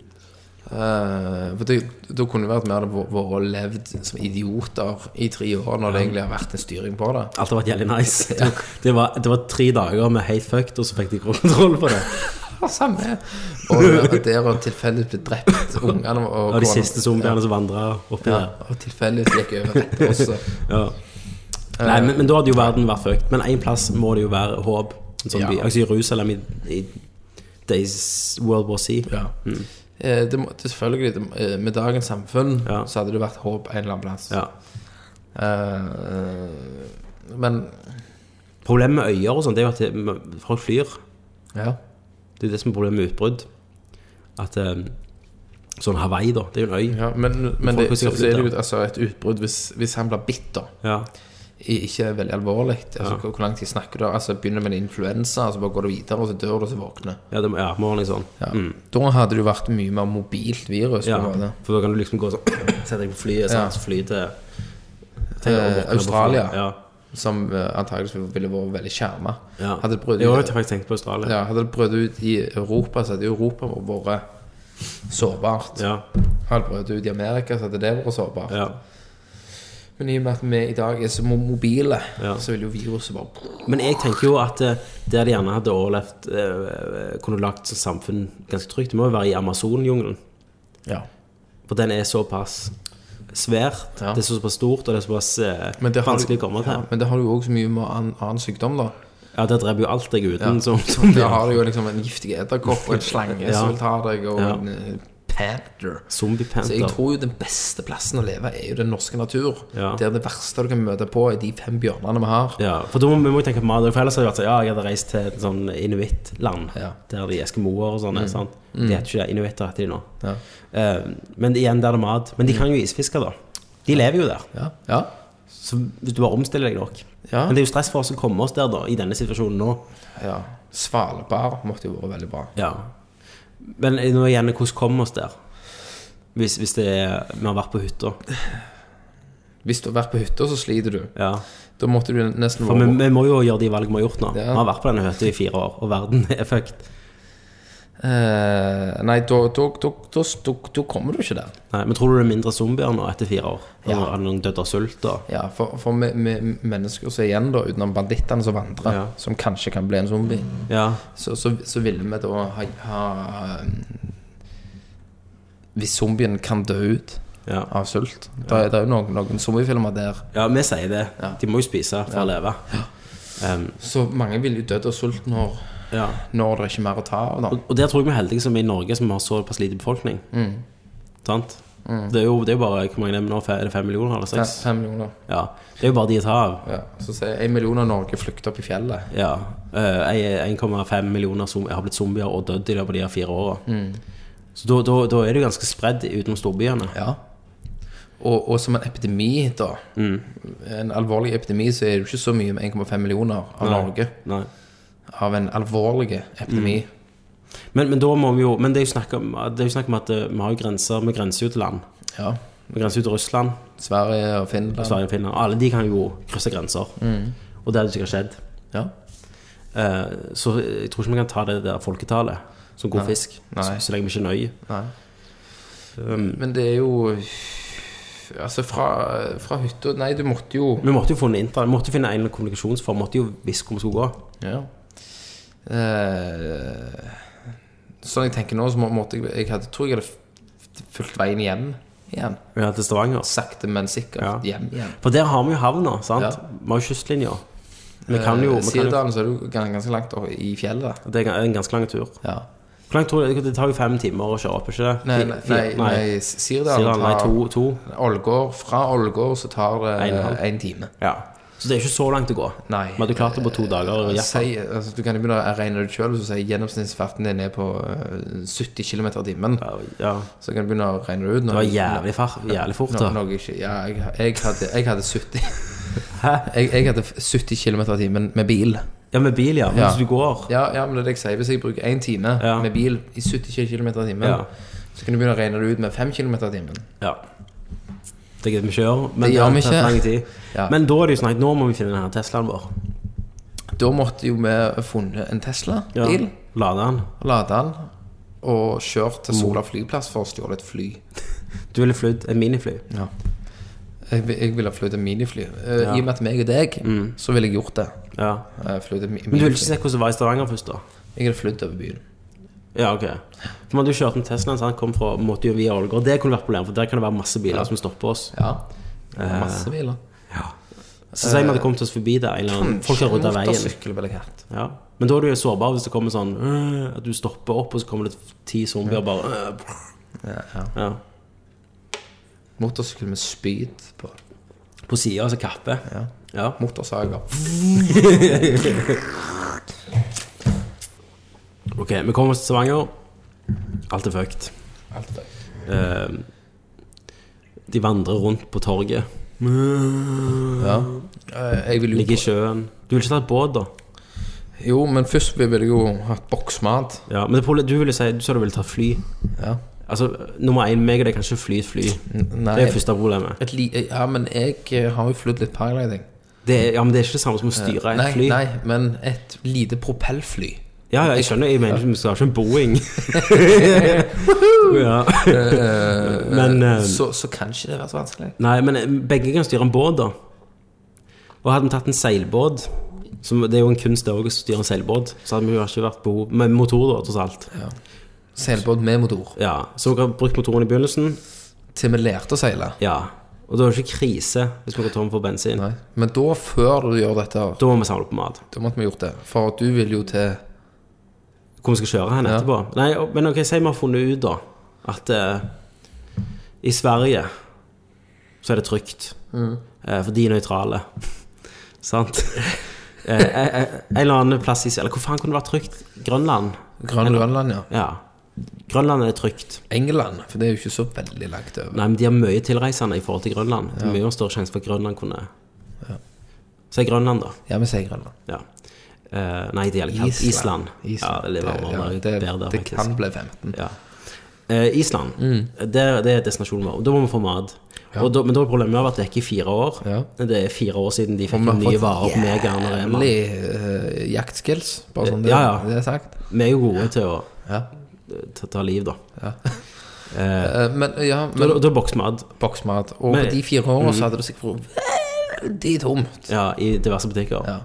[SPEAKER 5] Eh, for det, Da kunne det vært mer det vært vært levd som idioter i tre år, når det egentlig har vært en styring på det.
[SPEAKER 1] Alt har vært jævlig nice. Det, var, det var tre dager med helt fucked, og så fikk de kontroll på det.
[SPEAKER 5] Ja, samme. Og der- der og tilfeldigvis ble drept ungene og
[SPEAKER 1] Og de
[SPEAKER 5] kona-
[SPEAKER 1] siste zombiene som vandra oppi
[SPEAKER 5] Ja,
[SPEAKER 1] der.
[SPEAKER 5] og tilfeldigvis gikk over rett også.
[SPEAKER 1] Ja. Nei, men, men da hadde jo verden vært fucked. Men én plass må det jo være håp. En sånn
[SPEAKER 5] Ja.
[SPEAKER 1] by. Altså Jerusalem i, i Days World War C.
[SPEAKER 5] Ja. Eh, Det, må- det, selvfølgelig, det, eh, med dagens samfunn
[SPEAKER 1] Ja.
[SPEAKER 5] så hadde det vært håp en eller annen plass.
[SPEAKER 1] Ja.
[SPEAKER 5] Eh, eh, men
[SPEAKER 1] Problemet med øyer og sånn, det er jo at det, folk flyr.
[SPEAKER 5] ja.
[SPEAKER 1] Det er det som er problemet med utbrudd. At eh, sånn Hawaii, da, det er jo en øy.
[SPEAKER 5] ja men, men
[SPEAKER 1] Folk
[SPEAKER 5] det,
[SPEAKER 1] vil
[SPEAKER 5] så,
[SPEAKER 1] sikkert
[SPEAKER 5] så er det
[SPEAKER 1] flytte.
[SPEAKER 5] jo altså, et utbrudd hvis, hvis han blir bitt, da.
[SPEAKER 1] Ja.
[SPEAKER 5] i- Ikke er veldig alvorlig. Altså, hvor, hvor lang tid snakker du? Altså, begynner med en influensa, og så bare går det videre, og så dør du, og så våkner
[SPEAKER 1] Ja, det, må- ja, må være litt sånn.
[SPEAKER 5] ja. Da hadde det jo vært mye mer mobilt virus.
[SPEAKER 1] Ja,
[SPEAKER 5] på en måte.
[SPEAKER 1] for da kan du liksom gå sånn Sette deg på flyet, sånn,
[SPEAKER 5] Ja.
[SPEAKER 1] så fly til til å våkne
[SPEAKER 5] Eh,
[SPEAKER 1] på
[SPEAKER 5] Australia.
[SPEAKER 1] flyet. Ja.
[SPEAKER 5] Som eh, antageligvis ville vært veldig skjerma.
[SPEAKER 1] ja.
[SPEAKER 5] Hadde det brutt
[SPEAKER 1] Jeg har
[SPEAKER 5] ut,
[SPEAKER 1] jo faktisk tenkt på Australia. Ja.
[SPEAKER 5] ja, hadde det brutt ut i Europa, så hadde jo Europa vært sårbart.
[SPEAKER 1] Ja.
[SPEAKER 5] Hadde det brutt ut i Amerika, så hadde det vært sårbart.
[SPEAKER 1] ja.
[SPEAKER 5] Men i og med at vi i dag er så mo- mobile,
[SPEAKER 1] Ja.
[SPEAKER 5] så vil jo viruset bare
[SPEAKER 1] Men jeg tenker jo at eh, der de gjerne hadde overlevd, eh, kunne lagt sitt samfunn ganske trygt, det må jo være i Amazonjungelen.
[SPEAKER 5] ja.
[SPEAKER 1] For den er såpass svært,
[SPEAKER 5] Ja.
[SPEAKER 1] det er såpass stort, og det er såpass eh,
[SPEAKER 5] Men det har du-
[SPEAKER 1] vanskelig å komme til.
[SPEAKER 5] Ja, men det har du jo også så mye med annen, annen sykdom, da.
[SPEAKER 1] Ja, der dreper jo alt deg uten
[SPEAKER 5] Ja.
[SPEAKER 1] som, som
[SPEAKER 5] Der har du jo liksom en giftig edderkopp og en slange
[SPEAKER 1] Ja.
[SPEAKER 5] som vil ta deg, og
[SPEAKER 1] Ja.
[SPEAKER 5] en eh, panther.
[SPEAKER 1] Zombie
[SPEAKER 5] Så jeg
[SPEAKER 1] Panther.
[SPEAKER 5] tror jo den beste plassen å leve er jo den norske natur.
[SPEAKER 1] Ja.
[SPEAKER 5] Der det verste du kan møte på, er de fem bjørnene vi har.
[SPEAKER 1] Ja, for da må vi må jo tenke på mat. For ellers hadde det vært sånn Ja, jeg hadde reist til et sånn inuittland,
[SPEAKER 5] Ja. Mm.
[SPEAKER 1] der de er eskimoer og sånn. er, sant? De heter ikke det. Inuitter heter de nå.
[SPEAKER 5] Ja. Mm.
[SPEAKER 1] Eh, men igjen, der er det mat. Men de kan jo isfiske, da. De lever jo der.
[SPEAKER 5] Ja. ja.
[SPEAKER 1] Så hvis du bare omstiller deg nok.
[SPEAKER 5] Ja.
[SPEAKER 1] Men det er jo stress for oss å komme oss der, da, i denne situasjonen nå.
[SPEAKER 5] ja. Svalbard måtte jo vært veldig bra.
[SPEAKER 1] Ja. Men nå igjen, hvordan kommer vi oss der? Hvis, hvis det er, vi har vært på hytta.
[SPEAKER 5] Hvis du har vært på hytta, så sliter du.
[SPEAKER 1] Ja.
[SPEAKER 5] Da måtte du nesten
[SPEAKER 1] For vi,
[SPEAKER 5] vært
[SPEAKER 1] vi må jo gjøre de valg vi har gjort nå.
[SPEAKER 5] Ja.
[SPEAKER 1] Vi har vært på denne hytta i fire år, og verden er fucked.
[SPEAKER 5] Eh, nei, da, da, da, da, da, da kommer du ikke der.
[SPEAKER 1] Nei, men tror du det er mindre zombier nå etter fire år? Ja. Når noen døde av sult og
[SPEAKER 5] Ja, For, for med, med mennesker som er igjen, da, utenom bandittene som vandrer,
[SPEAKER 1] Ja.
[SPEAKER 5] som kanskje kan bli en zombie,
[SPEAKER 1] Ja.
[SPEAKER 5] så, så, så ville vi da ha, ha um, Hvis zombien kan dø ut
[SPEAKER 1] Ja.
[SPEAKER 5] av sult Det er- det er jo noen, noen zombiefilmer der
[SPEAKER 1] ja, vi sier det.
[SPEAKER 5] Ja.
[SPEAKER 1] De må jo spise for å leve. Um,
[SPEAKER 5] Så mange vil jo dø av sult når,
[SPEAKER 1] ja.
[SPEAKER 5] når det er ikke er mer å ta av. Da.
[SPEAKER 1] Og der tror jeg vi er heldige som i Norge, som har såpass lite befolkning. Sant? Det er jo det er jo bare Hvor mange er det nå? Fe- Er det fem millioner eller
[SPEAKER 5] Ja,
[SPEAKER 1] seks?
[SPEAKER 5] Fem millioner.
[SPEAKER 1] Ja. Det er jo bare de å ta av.
[SPEAKER 5] Ja. Så sier jeg en million av Norge flykter opp i fjellet.
[SPEAKER 1] Ja. Eh, 1,5 millioner som har blitt zombier og dødd i løpet av de her fire åra. Så da, da, da er det jo ganske spredd utenom storbyene.
[SPEAKER 5] Ja. Og, og som en epidemi, da.
[SPEAKER 1] Mm.
[SPEAKER 5] En alvorlig epidemi, så er det jo ikke så mye med 1,5 millioner av Norge.
[SPEAKER 1] Nei.
[SPEAKER 5] Av en alvorlig epidemi.
[SPEAKER 1] Mm. Men, men da må vi jo Men det er jo snakk om, det er jo snakk om at eh, vi har jo grenser. Vi grenser jo til land.
[SPEAKER 5] Ja.
[SPEAKER 1] Vi grenser jo til Russland,
[SPEAKER 5] Sverige og Finland.
[SPEAKER 1] Sverige og Finland. Alle de kan jo krysse grenser. Og det hadde sikkert skjedd.
[SPEAKER 5] Ja.
[SPEAKER 1] Eh, så jeg tror ikke vi kan ta det der folketallet som god fisk,
[SPEAKER 5] Nei.
[SPEAKER 1] Så, så lenge vi ikke er nøye.
[SPEAKER 5] Nei.
[SPEAKER 1] Um,
[SPEAKER 5] Men det er jo Altså, fra, fra hytta Nei, du måtte jo
[SPEAKER 1] Vi måtte jo finne, inter, måtte jo finne en kommunikasjonsform, måtte jo vise hvor vi skulle gå.
[SPEAKER 5] Ja. Eh, sånn jeg tenker nå, så må- måtte jeg Jeg hadde, tror jeg hadde f- fulgt veien hjem igjen.
[SPEAKER 1] Ja, til Stavanger.
[SPEAKER 5] Sakte, men sikkert hjem igjen.
[SPEAKER 1] For der har vi jo havna, sant?
[SPEAKER 5] Ja.
[SPEAKER 1] Vi har jo kystlinja. Vi kan jo,
[SPEAKER 5] Eh,
[SPEAKER 1] vi kan jo
[SPEAKER 5] Sirdalen så er du gan- ganske langt opp i fjellet.
[SPEAKER 1] Det er en ganske lang tur.
[SPEAKER 5] Ja.
[SPEAKER 1] Hvor langt tror du det tar jo fem timer å kjøre opp, ikke det?
[SPEAKER 5] Nei,
[SPEAKER 1] Fi-
[SPEAKER 5] nei,
[SPEAKER 1] fi-
[SPEAKER 5] nei, nei Sirdalen
[SPEAKER 1] Sirdalen, nei,
[SPEAKER 5] tar
[SPEAKER 1] to, to.
[SPEAKER 5] Ålgård, Fra Ålgård så tar
[SPEAKER 1] En og en halv.
[SPEAKER 5] det en time.
[SPEAKER 1] Ja. Så det er ikke så langt å gå.
[SPEAKER 5] Nei.
[SPEAKER 1] Vi hadde klart det på to dager. i hvert fall.
[SPEAKER 5] Si, altså, du kan jo begynne å regne det sjøl. Gjennomsnittsfarten din er på eh, 70 km i timen.
[SPEAKER 1] Ja.
[SPEAKER 5] Så kan du begynne å regne det ut.
[SPEAKER 1] Det var jævlig, far, jævlig fort.
[SPEAKER 5] No,
[SPEAKER 1] da.
[SPEAKER 5] noe ikke, ja, jeg, jeg, hadde, jeg hadde 70 jeg, jeg hadde 70 km i timen med bil.
[SPEAKER 1] Ja, med bil, ja.
[SPEAKER 5] Ja.
[SPEAKER 1] Mens du går.
[SPEAKER 5] Ja, ja, men det er det jeg sier. Hvis jeg bruker én time
[SPEAKER 1] Ja.
[SPEAKER 5] med bil i 70 km i timen,
[SPEAKER 1] Ja.
[SPEAKER 5] så kan du begynne å regne det ut med 5 km i timen.
[SPEAKER 1] Ja. Det gidder vi ikke gjøre. Men
[SPEAKER 5] Det
[SPEAKER 1] det
[SPEAKER 5] gjør
[SPEAKER 1] har
[SPEAKER 5] vi
[SPEAKER 1] tatt
[SPEAKER 5] ikke.
[SPEAKER 1] lang tid.
[SPEAKER 5] Ja.
[SPEAKER 1] Men da er det jo snakket, nå må vi finne denne Teslaen vår.
[SPEAKER 5] Da måtte jo vi funnet en Tesla-bil,
[SPEAKER 1] Lade den.
[SPEAKER 5] lade den og kjørt til Sola flyplass for å stjåle et fly.
[SPEAKER 1] Du ville flydd et minifly.
[SPEAKER 5] Ja. Jeg, vil- jeg ville ha fløyet et minifly. Eh,
[SPEAKER 1] Ja. Mm.
[SPEAKER 5] I og med at meg og deg, så ville jeg gjort det.
[SPEAKER 1] Ja.
[SPEAKER 5] Uh, fløyet et mi-
[SPEAKER 1] Men du ville ikke
[SPEAKER 5] minifly.
[SPEAKER 1] se hvordan det var i Stavanger først, da?
[SPEAKER 5] Jeg hadde flydd over byen.
[SPEAKER 1] Ja, ok. For man hadde jo kjørt en Tesla så han kom fra måtte jo via Ålgård. Det kunne vært problemet, for der kan det være masse biler som stopper oss.
[SPEAKER 5] Ja. Masse
[SPEAKER 1] Eh.
[SPEAKER 5] biler.
[SPEAKER 1] Så sier vi at det kom til oss forbi der, eller annen- folk har rydda veien.
[SPEAKER 5] Motorsykkel ville jeg hatt.
[SPEAKER 1] Ja. Men da er du jo sårbar hvis det kommer sånn øh, At du stopper opp, og så kommer det ti zombier og bare øh. ja.
[SPEAKER 5] Motorsykkel med spyd på.
[SPEAKER 1] På sida, altså kappe.
[SPEAKER 5] Ja.
[SPEAKER 1] Ja.
[SPEAKER 5] Motorsager.
[SPEAKER 1] Ok, vi kommer oss til Stavanger. Alt er fucked.
[SPEAKER 5] Alt det.
[SPEAKER 1] Eh, de vandrer rundt på torget.
[SPEAKER 5] Ja. Eh, Jeg vil
[SPEAKER 1] Mm. Ligger
[SPEAKER 5] jo
[SPEAKER 1] i sjøen. Du vil ikke ta et båt, da?
[SPEAKER 5] Jo, men først ville jeg jo hatt boksmat.
[SPEAKER 1] Ja, men det problemet, du ville si Du sa du ville ta fly.
[SPEAKER 5] Ja.
[SPEAKER 1] Altså, nummer én, meg og deg kan ikke fly et fly.
[SPEAKER 5] N- Nei.
[SPEAKER 1] Det er første problemet.
[SPEAKER 5] Et li ja, men jeg eh, har jo flydd litt paragliding.
[SPEAKER 1] Det er, ja, men det er ikke det samme som å styre et
[SPEAKER 5] Nei,
[SPEAKER 1] fly.
[SPEAKER 5] nei, men et lite propellfly.
[SPEAKER 1] Ja, ja, jeg skjønner. Jeg mener ikke vi skal ha ikke en Boeing. ja. Men eh,
[SPEAKER 5] Så, så kan ikke det være så vanskelig.
[SPEAKER 1] Nei, men eh, begge kan styre en båt, da. Og hadde vi tatt en seilbåt som, Det er jo en kunst det òg, å styre en seilbåt. Så hadde vi jo ikke vært behov Med motor, da, tross alt.
[SPEAKER 5] Seilbåt med motor.
[SPEAKER 1] Ja, Så vi har brukt motoren i begynnelsen.
[SPEAKER 5] Til vi lærte å seile.
[SPEAKER 1] Ja. Og da er det ikke krise hvis vi går tom for bensin.
[SPEAKER 5] Nei. Men da, før du gjør dette,
[SPEAKER 1] Da må vi samle på mat.
[SPEAKER 5] da måtte vi gjort det. For du vil jo til
[SPEAKER 1] Hvor vi skal kjøre hen etterpå. Nei, og- Men ok, si vi har funnet ut, da, at eh, i Sverige så er det trygt. Eh, for de er nøytrale. Sant? eh, eh, eh, en eller annen plass i Eller hvor faen kunne det vært trygt? Grønland?
[SPEAKER 5] Grøn- Grønland, ja.
[SPEAKER 1] Ja. Grønland er trygt.
[SPEAKER 5] England, for det er jo ikke så veldig langt over.
[SPEAKER 1] Nei, men de har mye tilreisende i forhold til Grønland. Det er Mye større sjanse for at Grønland kunne Si Grønland, da.
[SPEAKER 5] Ja, vi sier Grønland.
[SPEAKER 1] Ja. Eh, nei, det gjelder ikke Island. Ja, det er varmere.
[SPEAKER 5] ja,
[SPEAKER 1] Det,
[SPEAKER 5] det,
[SPEAKER 1] bedre,
[SPEAKER 5] det
[SPEAKER 1] faktisk.
[SPEAKER 5] kan bli 15.
[SPEAKER 1] Ja. Eh, Island,
[SPEAKER 5] Mm.
[SPEAKER 1] det, det er destinasjonen vår. Da må vi få mat. Og da, men da er problemet vi har vært vekke i fire år.
[SPEAKER 5] Ja.
[SPEAKER 1] Det er fire år siden de fikk
[SPEAKER 5] vi har
[SPEAKER 1] nye
[SPEAKER 5] fått
[SPEAKER 1] varer på Megaen og Rema.
[SPEAKER 5] Veldig eh, jaktskills, bare sånn det,
[SPEAKER 1] Ja, ja.
[SPEAKER 5] det er sagt.
[SPEAKER 1] Vi er jo gode til å
[SPEAKER 5] Ja.
[SPEAKER 1] ta, ta liv, da.
[SPEAKER 5] Ja.
[SPEAKER 1] Eh,
[SPEAKER 5] Eh, men ja,
[SPEAKER 1] da,
[SPEAKER 5] men
[SPEAKER 1] da bokste vi ad
[SPEAKER 5] boksmat. Og
[SPEAKER 1] Men- Mm.
[SPEAKER 5] på de fire årene så hadde det sikkert vært veldig tomt.
[SPEAKER 1] ja, i diverse butikker.
[SPEAKER 5] Ja.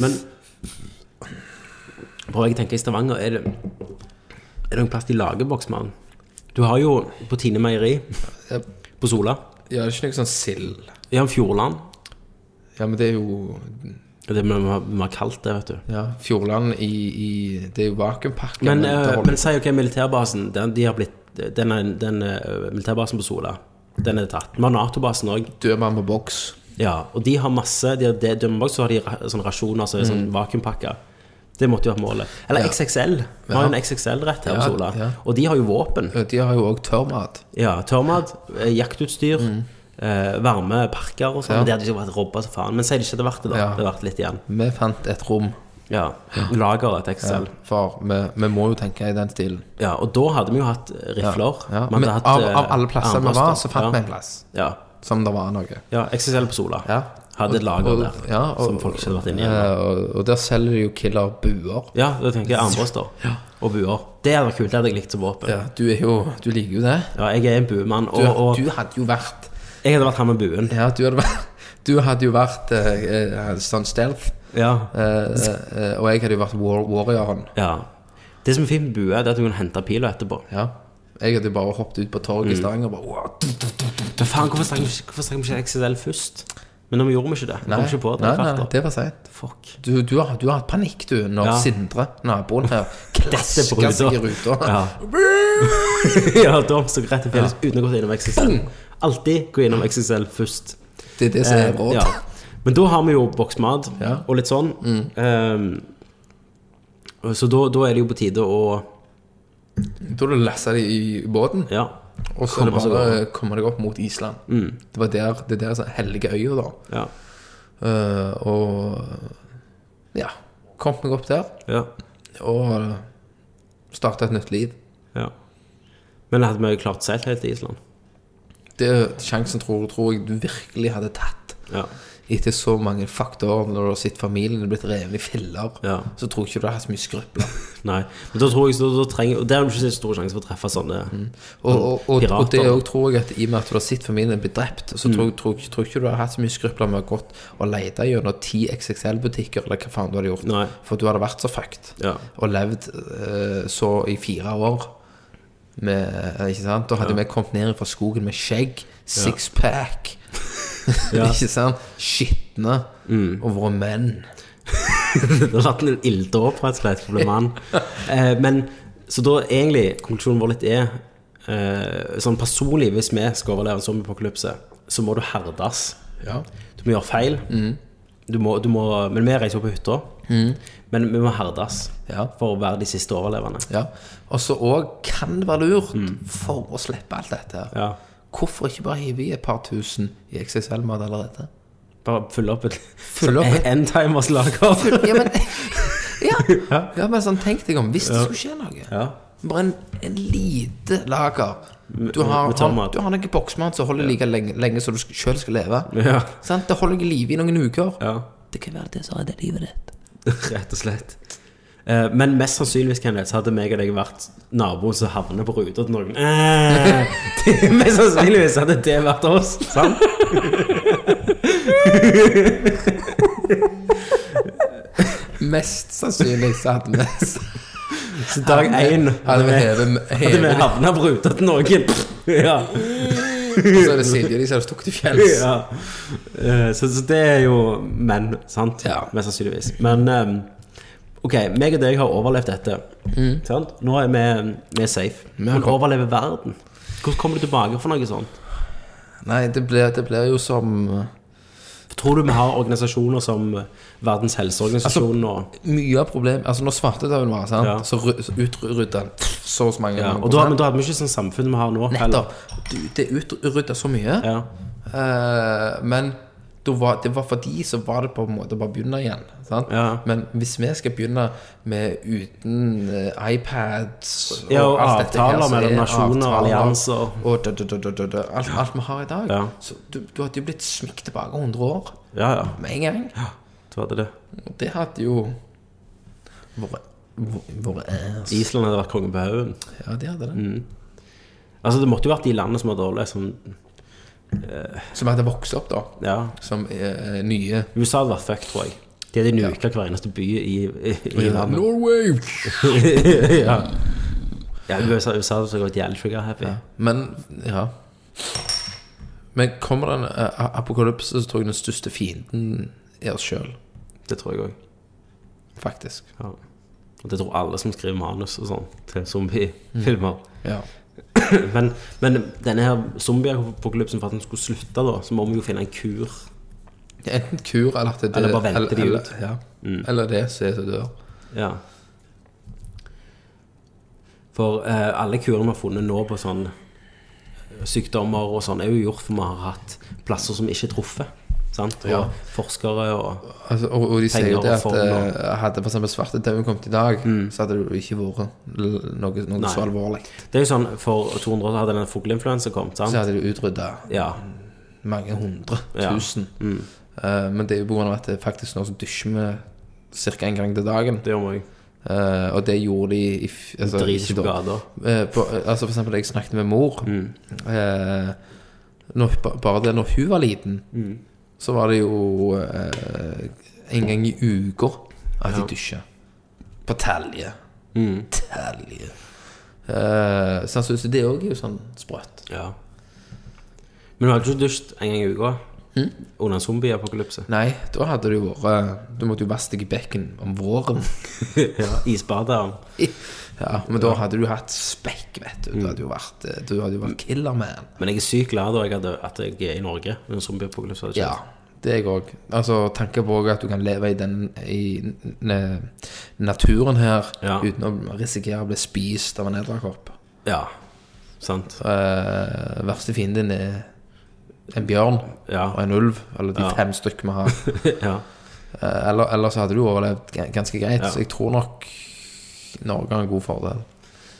[SPEAKER 1] Men Bare jeg tenker i Stavanger Er det, er det noen plass de lager boksmann? Du har jo på Tine Meieri
[SPEAKER 5] Ja.
[SPEAKER 1] På Sola
[SPEAKER 5] Ja, det er ikke noe sånn sild.
[SPEAKER 1] Vi har Fjordland
[SPEAKER 5] Ja, men det er jo
[SPEAKER 1] Det må vi ha- vi må ha kalt det, vet du
[SPEAKER 5] ja, Fjordland i, i Det er jo vakuumpakke.
[SPEAKER 1] Men,
[SPEAKER 5] det
[SPEAKER 1] eh,
[SPEAKER 5] holder-
[SPEAKER 1] men si ok, militærbasen Den, de har blitt, den, er- den eh, militærbasen på Sola Den er tatt Vi har NATO-basen også
[SPEAKER 5] dør man med boks.
[SPEAKER 1] ja, Og de har masse De har det dømmebok Så har de ra- sånne rasjoner Så er sånn vakuumpakker Det måtte jo ha vært målet Eller
[SPEAKER 5] Mm. Ja.
[SPEAKER 1] XXL Vi har jo en XXL-rett her på
[SPEAKER 5] Ja,
[SPEAKER 1] Sola
[SPEAKER 5] ja.
[SPEAKER 1] Og de har jo våpen
[SPEAKER 5] Ja, Eh, De har jo òg tørrmat.
[SPEAKER 1] Ja, tørrmat, eh, jaktutstyr, eh, varme parker og sånn.
[SPEAKER 5] Mm. Ja.
[SPEAKER 1] Det hadde ikke vært robba som faen. Men si det ikke hadde vært det, da.
[SPEAKER 5] Ja.
[SPEAKER 1] Det hadde vært litt igjen.
[SPEAKER 5] Vi fant et rom.
[SPEAKER 1] Ja. Lageret til
[SPEAKER 5] Ja,
[SPEAKER 1] XL.
[SPEAKER 5] for vi, vi må jo tenke i den stilen.
[SPEAKER 1] Ja. og da hadde vi jo hatt rifler.
[SPEAKER 5] Ja,
[SPEAKER 1] Vi
[SPEAKER 5] men
[SPEAKER 1] hadde hatt,
[SPEAKER 5] av,
[SPEAKER 1] eh,
[SPEAKER 5] av alle plasser vi var,
[SPEAKER 1] armbrøster.
[SPEAKER 5] så fant vi
[SPEAKER 1] ja.
[SPEAKER 5] en plass
[SPEAKER 1] Ja.
[SPEAKER 5] som det var noe.
[SPEAKER 1] ja, XXL på Sola.
[SPEAKER 5] Ja.
[SPEAKER 1] Hadde et lager
[SPEAKER 5] Og-
[SPEAKER 1] der
[SPEAKER 5] ja, og-
[SPEAKER 1] som folk ikke hadde vært inne i.
[SPEAKER 5] Eh, og, og der selger de jo killer-buer.
[SPEAKER 1] Ja, da tenker jeg armbrøster og buer. Det hadde vært kult. Det hadde jeg likt som våpen. Ja.
[SPEAKER 5] Ja, du er jo Du liker jo det.
[SPEAKER 1] jeg er en buemann,
[SPEAKER 5] Du,
[SPEAKER 1] og, og
[SPEAKER 5] du hadde jo vært
[SPEAKER 1] jeg hadde vært han med buen.
[SPEAKER 5] Ja, du hadde vært Du hadde jo vært eh, eh, sånn stealth,
[SPEAKER 1] Ja.
[SPEAKER 5] eh, eh, og jeg hadde jo vært war warrioren.
[SPEAKER 1] ja. Det som er fint med bue, det er at du kan hente pila etterpå.
[SPEAKER 5] Ja. Jeg hadde jo bare hoppet ut på
[SPEAKER 1] Mm.
[SPEAKER 5] torget i Stavanger og bare wow, du-
[SPEAKER 1] Men faen, hvorfor snakker vi ikke, hvorfor snakker vi ikke XXL først? Men nå gjorde vi ikke det. Vi kom ikke på det.
[SPEAKER 5] nei,
[SPEAKER 1] i
[SPEAKER 5] nei,
[SPEAKER 1] farta.
[SPEAKER 5] det var seint.
[SPEAKER 1] Fuck.
[SPEAKER 5] Du, du, har, du har hatt panikk, du, når
[SPEAKER 1] Ja.
[SPEAKER 5] Sindre, naboen her,
[SPEAKER 1] Dette
[SPEAKER 5] klasker seg i ruta.
[SPEAKER 1] Ja. ja, Dom sto rett i fjellet uten å gå innom XXL. Alltid gå innom XXL først.
[SPEAKER 5] Det er det som er
[SPEAKER 1] Eh,
[SPEAKER 5] råd.
[SPEAKER 1] ja. Men da har vi jo boksmat
[SPEAKER 5] Ja.
[SPEAKER 1] og litt sånn. Eh, så da, da er det jo på tide å
[SPEAKER 5] Da du lassa de i båten,
[SPEAKER 1] Ja.
[SPEAKER 5] og så er
[SPEAKER 1] Kommer
[SPEAKER 5] det bare
[SPEAKER 1] seg Mm.
[SPEAKER 5] å komme deg opp mot Island. Det var der, det er der som er hellige øya, da.
[SPEAKER 1] Ja.
[SPEAKER 5] Eh, og ja. Kom meg opp der,
[SPEAKER 1] ja,
[SPEAKER 5] og starta et nytt liv.
[SPEAKER 1] ja. Men hadde vi klart seilt helt til Island?
[SPEAKER 5] Det er sjansen tror, tror jeg du virkelig hadde tatt.
[SPEAKER 1] Ja.
[SPEAKER 5] Etter så mange faktorer, når du har sett familien er blitt revet i filler,
[SPEAKER 1] Ja.
[SPEAKER 5] så tror jeg ikke du har hatt så mye skrupler.
[SPEAKER 1] Nei. Men da tror jeg da, da trenger, Og der har du ikke så stor sjanse for å treffe sånne
[SPEAKER 5] Og, og, og, og det
[SPEAKER 1] Pirater. Mm.
[SPEAKER 5] òg tror jeg at i og med at du har sett familien bli drept, så tror, jeg- tror, jeg- tror jeg ikke du har hatt så mye skrupler med å gått og lete gjennom ti XXL-butikker, eller hva faen du hadde gjort.
[SPEAKER 1] Nei.
[SPEAKER 5] For du hadde vært så fucked,
[SPEAKER 1] Ja.
[SPEAKER 5] og levd eh, så i fire år med eh, Ikke sant? Da hadde vi kommet ned fra skogen med skjegg, sixpack,
[SPEAKER 1] Ja. Mm.
[SPEAKER 5] ikke sant? Skitne, og vært menn.
[SPEAKER 1] Det har vært en ilddåp, rett og slett, for å bli mann. Eh, men så da egentlig konklusjonen vår litt er eh, sånn personlig, hvis vi skal overleve en zombieapokalypse, så må du herdes.
[SPEAKER 5] Ja.
[SPEAKER 1] Du må gjøre feil.
[SPEAKER 5] Mm.
[SPEAKER 1] Du må, du må, men vi reiser jo på hytta. Men vi må herdes
[SPEAKER 5] Ja.
[SPEAKER 1] for å være de siste overlevende.
[SPEAKER 5] ja. Og så òg kan det være lurt, for å slippe alt dette her.
[SPEAKER 1] Mm. Ja.
[SPEAKER 5] Hvorfor ikke bare hive i et par tusen i XXL-mat allerede?
[SPEAKER 1] Bare fylle opp et
[SPEAKER 5] Fylle opp et-
[SPEAKER 1] endtimers lager.
[SPEAKER 5] Ja, men, ja, ja, men sånn tenk deg om. Hvis det skulle skje noe.
[SPEAKER 1] Ja.
[SPEAKER 5] Bare en, en lite lager. Du har,
[SPEAKER 1] med tomat.
[SPEAKER 5] du har noe boksmat som holder like lenge, lenge som du sk- selv skal leve.
[SPEAKER 1] Ja.
[SPEAKER 5] Sant? Det holder deg i live i noen uker.
[SPEAKER 1] ja.
[SPEAKER 5] Det kan være det som redder livet ditt.
[SPEAKER 1] Rett og slett. Eh, men mest sannsynligvis Kenneth, så hadde meg og deg vært naboen som havner på ruta til noen. Eh, det- mest sannsynligvis hadde det vært oss, sant?
[SPEAKER 5] Mest sannsynlig så hadde vi
[SPEAKER 1] Så dag én
[SPEAKER 5] Hadde vi
[SPEAKER 1] hadde
[SPEAKER 5] hevet
[SPEAKER 1] vi hadde vi
[SPEAKER 5] hevet-
[SPEAKER 1] havna på ruta til noen. Ja.
[SPEAKER 5] Så er det Silje de som har stukket til fjells.
[SPEAKER 1] ja. Eh, så, så det er jo menn, sant?
[SPEAKER 5] Ja.
[SPEAKER 1] Mest sannsynligvis. Men eh, OK, meg og deg har overlevd dette. Sant? Nå er vi, vi er safe.
[SPEAKER 5] Mm. Vi har
[SPEAKER 1] Men overlever verden? Hvordan kommer du tilbake for noe sånt?
[SPEAKER 5] Nei, det blir, det blir jo som
[SPEAKER 1] Tror du vi har organisasjoner som eh, Verdens helseorganisasjon
[SPEAKER 5] Altså,
[SPEAKER 1] og,
[SPEAKER 5] Mye av problemet Altså når svartedauden var, sant?
[SPEAKER 1] Ja.
[SPEAKER 5] så, ru- så utrydda han så og så mange.
[SPEAKER 1] ja, og da, Men da hadde vi ikke sånn samfunn vi har nå. heller.
[SPEAKER 5] Nettopp. Du- Det er utrydda så mye,
[SPEAKER 1] Ja.
[SPEAKER 5] eh, men da var, det var for de så var det på en måte bare å begynne igjen. Sant?
[SPEAKER 1] Ja.
[SPEAKER 5] Men hvis vi skal begynne med uten eh, iPads
[SPEAKER 1] Ja, og
[SPEAKER 5] alt dette
[SPEAKER 1] avtaler
[SPEAKER 5] her, så
[SPEAKER 1] mellom
[SPEAKER 5] er
[SPEAKER 1] nasjoner og
[SPEAKER 5] avtaler
[SPEAKER 1] allianser.
[SPEAKER 5] og da, da, da, da, da, da, alt, alt vi har i dag.
[SPEAKER 1] Ja.
[SPEAKER 5] Så du, du hadde jo blitt smykt tilbake 100 år
[SPEAKER 1] ja, ja.
[SPEAKER 5] med en gang.
[SPEAKER 1] Du hadde det.
[SPEAKER 5] Og det hadde jo vært Hvor, hvor er altså.
[SPEAKER 1] Island hadde vært kongen på haugen.
[SPEAKER 5] Ja, de hadde det.
[SPEAKER 1] Mm. Altså, det måtte jo vært de landene som var dårlige, som
[SPEAKER 5] Som hadde vokst opp, da.
[SPEAKER 1] Ja.
[SPEAKER 5] Som eh, nye
[SPEAKER 1] USA hadde vært fucked, tror jeg. De hadde nuka hver eneste by i, i, i landet.
[SPEAKER 5] Norway!
[SPEAKER 1] ja. ja, USA, USA hadde så gått jævlig trigger-happy.
[SPEAKER 5] Men ja. Men kommer den eh, apokalypse, så tror jeg den største fienden er oss sjøl,
[SPEAKER 1] Det tror jeg òg.
[SPEAKER 5] faktisk.
[SPEAKER 1] Ja. Og det tror alle som skriver manus og sånn til zombiefilmer.
[SPEAKER 5] Ja.
[SPEAKER 1] Men, men denne her zombieapokalypsen, for at den skulle slutte, da, så må vi jo finne en kur.
[SPEAKER 5] Enten kur, eller at det
[SPEAKER 1] Eller bare vente de
[SPEAKER 5] eller-
[SPEAKER 1] ut. Mm.
[SPEAKER 5] Ja. Eller det som er som dør.
[SPEAKER 1] Ja. For eh, alle kurene vi har funnet nå på sånn eh, sykdommer og sånn, er jo gjort for vi har hatt plasser som ikke er truffet. Sant? Og
[SPEAKER 5] Ja.
[SPEAKER 1] forskere og
[SPEAKER 5] Altså, og, og de sier
[SPEAKER 1] Penger
[SPEAKER 5] jo det
[SPEAKER 1] og
[SPEAKER 5] at
[SPEAKER 1] form og-
[SPEAKER 5] eh, hadde for eksempel svartedauden kommet i dag,
[SPEAKER 1] Mm.
[SPEAKER 5] så hadde det jo ikke vært l- noe, noe så alvorlig.
[SPEAKER 1] Det er jo sånn, For 200 år siden hadde den fugleinfluensa kommet.
[SPEAKER 5] Så
[SPEAKER 1] sant?
[SPEAKER 5] hadde de utrydda
[SPEAKER 1] Ja.
[SPEAKER 5] mange hundre
[SPEAKER 1] Ja. Mm.
[SPEAKER 5] tusen. Eh, men det er jo på grunn av at det faktisk nå så dusjer vi ca. en gang til dagen.
[SPEAKER 1] Det gjør vi òg.
[SPEAKER 5] Eh, og det gjorde de i f- altså,
[SPEAKER 1] Driter
[SPEAKER 5] ikke
[SPEAKER 1] ikke på Mm.
[SPEAKER 5] da.
[SPEAKER 1] gata.
[SPEAKER 5] Eh, på, altså for eksempel da jeg snakket med mor eh, når, ba- Bare det når hun var liten
[SPEAKER 1] Mm.
[SPEAKER 5] Så var det jo eh, En gang i uker At de dusja På talje
[SPEAKER 1] Mm.
[SPEAKER 5] Talje eh, Så han synes det også er jo sånn sprøtt
[SPEAKER 1] Ja. Men du hadde ikke dusjet en gang i uka? Under en zombieapokalypse?
[SPEAKER 5] Nei, da hadde det jo vært Du måtte jo vaske deg i bekken om våren
[SPEAKER 1] ja. Isbaderen?
[SPEAKER 5] Ja, men da hadde du hatt spekk,
[SPEAKER 1] Mm.
[SPEAKER 5] vet du Du hadde jo vært, eh, du hadde jo vært killer man
[SPEAKER 1] Men jeg er sykt glad da jeg hadde, at jeg er i Norge. Når en zombieapokalypse hadde skjedd.
[SPEAKER 5] Ja, det er jeg òg. Altså, tanken på at du kan leve i den i n- naturen her
[SPEAKER 1] Ja.
[SPEAKER 5] uten å risikere å bli spist av en edderkopp.
[SPEAKER 1] Ja. Sant.
[SPEAKER 5] Eh, verste fienden din er en bjørn
[SPEAKER 1] Ja.
[SPEAKER 5] og en ulv, eller de
[SPEAKER 1] Ja.
[SPEAKER 5] fem stykker vi har.
[SPEAKER 1] ja.
[SPEAKER 5] Eh, eller, eller så hadde du overlevd ga- ganske greit.
[SPEAKER 1] Ja.
[SPEAKER 5] Så jeg tror nok Norge har en god fordel.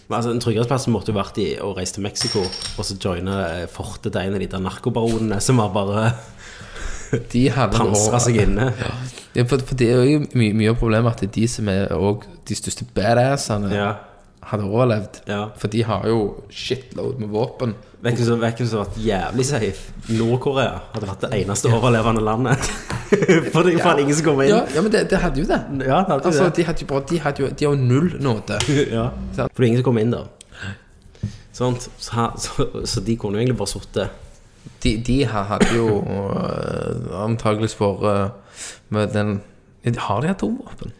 [SPEAKER 1] Men altså, Den tryggeste plassen måtte jo vært i å reise til Mexico og så joine eh, fortet til en av de der narkobaronene som har bare
[SPEAKER 5] De hadde
[SPEAKER 1] pansra seg inne.
[SPEAKER 5] Ja, for, for det er jo mye, mye av problemet at det er de som er også de største badassene,
[SPEAKER 1] Ja.
[SPEAKER 5] hadde overlevd.
[SPEAKER 1] Ja.
[SPEAKER 5] For de har jo shitload med våpen.
[SPEAKER 1] Hvem som hvem som har vært jævlig safe? Nord-Korea hadde vært det eneste overlevende landet. For det er jo faen ingen som kommer
[SPEAKER 5] Ja,
[SPEAKER 1] inn.
[SPEAKER 5] ja men det, det hadde jo det.
[SPEAKER 1] Ja, det hadde jo
[SPEAKER 5] altså,
[SPEAKER 1] det.
[SPEAKER 5] De hadde jo bare De hadde jo, de har jo null nåde.
[SPEAKER 1] Ja. For det er ingen som kommer inn der. Sant? Så, her- så, så de kunne jo egentlig bare sittet.
[SPEAKER 5] De, de her hadde jo uh, antakeligvis vært eh, med den Har de hatt atomvåpen?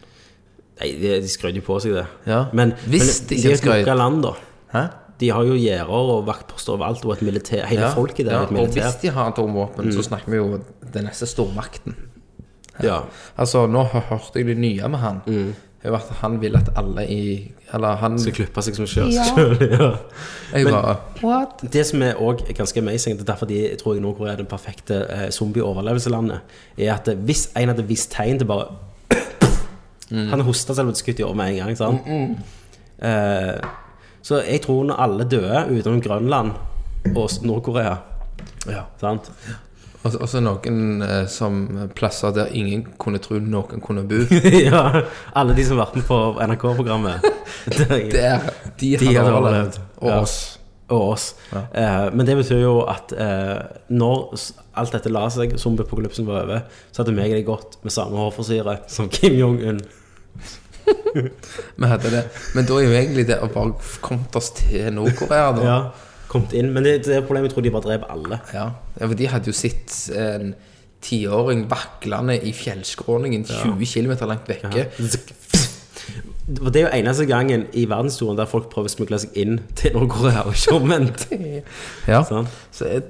[SPEAKER 1] Nei, de, de skrøt jo på seg det.
[SPEAKER 5] Ja.
[SPEAKER 1] Men,
[SPEAKER 5] Hvis
[SPEAKER 1] men
[SPEAKER 5] de
[SPEAKER 1] de,
[SPEAKER 5] ikke
[SPEAKER 1] er et
[SPEAKER 5] skrøt.
[SPEAKER 1] lukka land, da.
[SPEAKER 5] Hæ?
[SPEAKER 1] De har jo gjerder og vaktposter overalt, og et militær, hele folket der
[SPEAKER 5] ja,
[SPEAKER 1] er et
[SPEAKER 5] og
[SPEAKER 1] militær.
[SPEAKER 5] hvis de har atomvåpen,
[SPEAKER 1] Mm.
[SPEAKER 5] så snakker vi jo om den neste stormakten.
[SPEAKER 1] Ja.
[SPEAKER 5] Altså, nå har- hørte jeg det nye med han.
[SPEAKER 1] Mm.
[SPEAKER 5] Det var at han vil at alle i Eller han
[SPEAKER 1] Skal klippe seg som sjøl. Ja.
[SPEAKER 5] Jeg bare What?
[SPEAKER 1] Det som er også ganske amazing, det er derfor de jeg tror jeg Nord-Korea er det perfekte eh, zombie-overlevelseslandet, er at eh, hvis en hadde visst tegn til bare Han hosta selv om et skutt i år med en gang. Sant? Eh, så jeg tror når alle døde utenom Grønland og s- Nord-Korea
[SPEAKER 5] Ja.
[SPEAKER 1] sant?
[SPEAKER 5] Og så- og så noen eh, som plasser der ingen kunne tro noen kunne bo.
[SPEAKER 1] ja, Alle de som har vært med på NRK-programmet.
[SPEAKER 5] Der, de,
[SPEAKER 1] hadde
[SPEAKER 5] hadde overlevd.
[SPEAKER 1] overlevd.
[SPEAKER 5] Og
[SPEAKER 1] Ja.
[SPEAKER 5] oss.
[SPEAKER 1] og oss. Eh, men det betyr jo at eh, når s- alt dette la seg, zombiepokalypsen var over, så hadde meg og deg gått med samme hårforsyre som Kim Jong-un.
[SPEAKER 5] Vi hadde det. Men da er jo egentlig det å bare kommet oss til Nord-Korea, da.
[SPEAKER 1] Ja, kommet inn. Men det, det er problemet, jeg tror de bare drev alle.
[SPEAKER 5] Ja. ja, for de hadde jo sett en tiåring vaklende i fjellskråningen 20 km langt vekke.
[SPEAKER 1] Og Det er jo eneste gangen i verdenshistorien der folk prøver å smugle seg inn til Nord-Korea og ikke omvendt.
[SPEAKER 5] Ja.
[SPEAKER 1] Sant?
[SPEAKER 5] Så er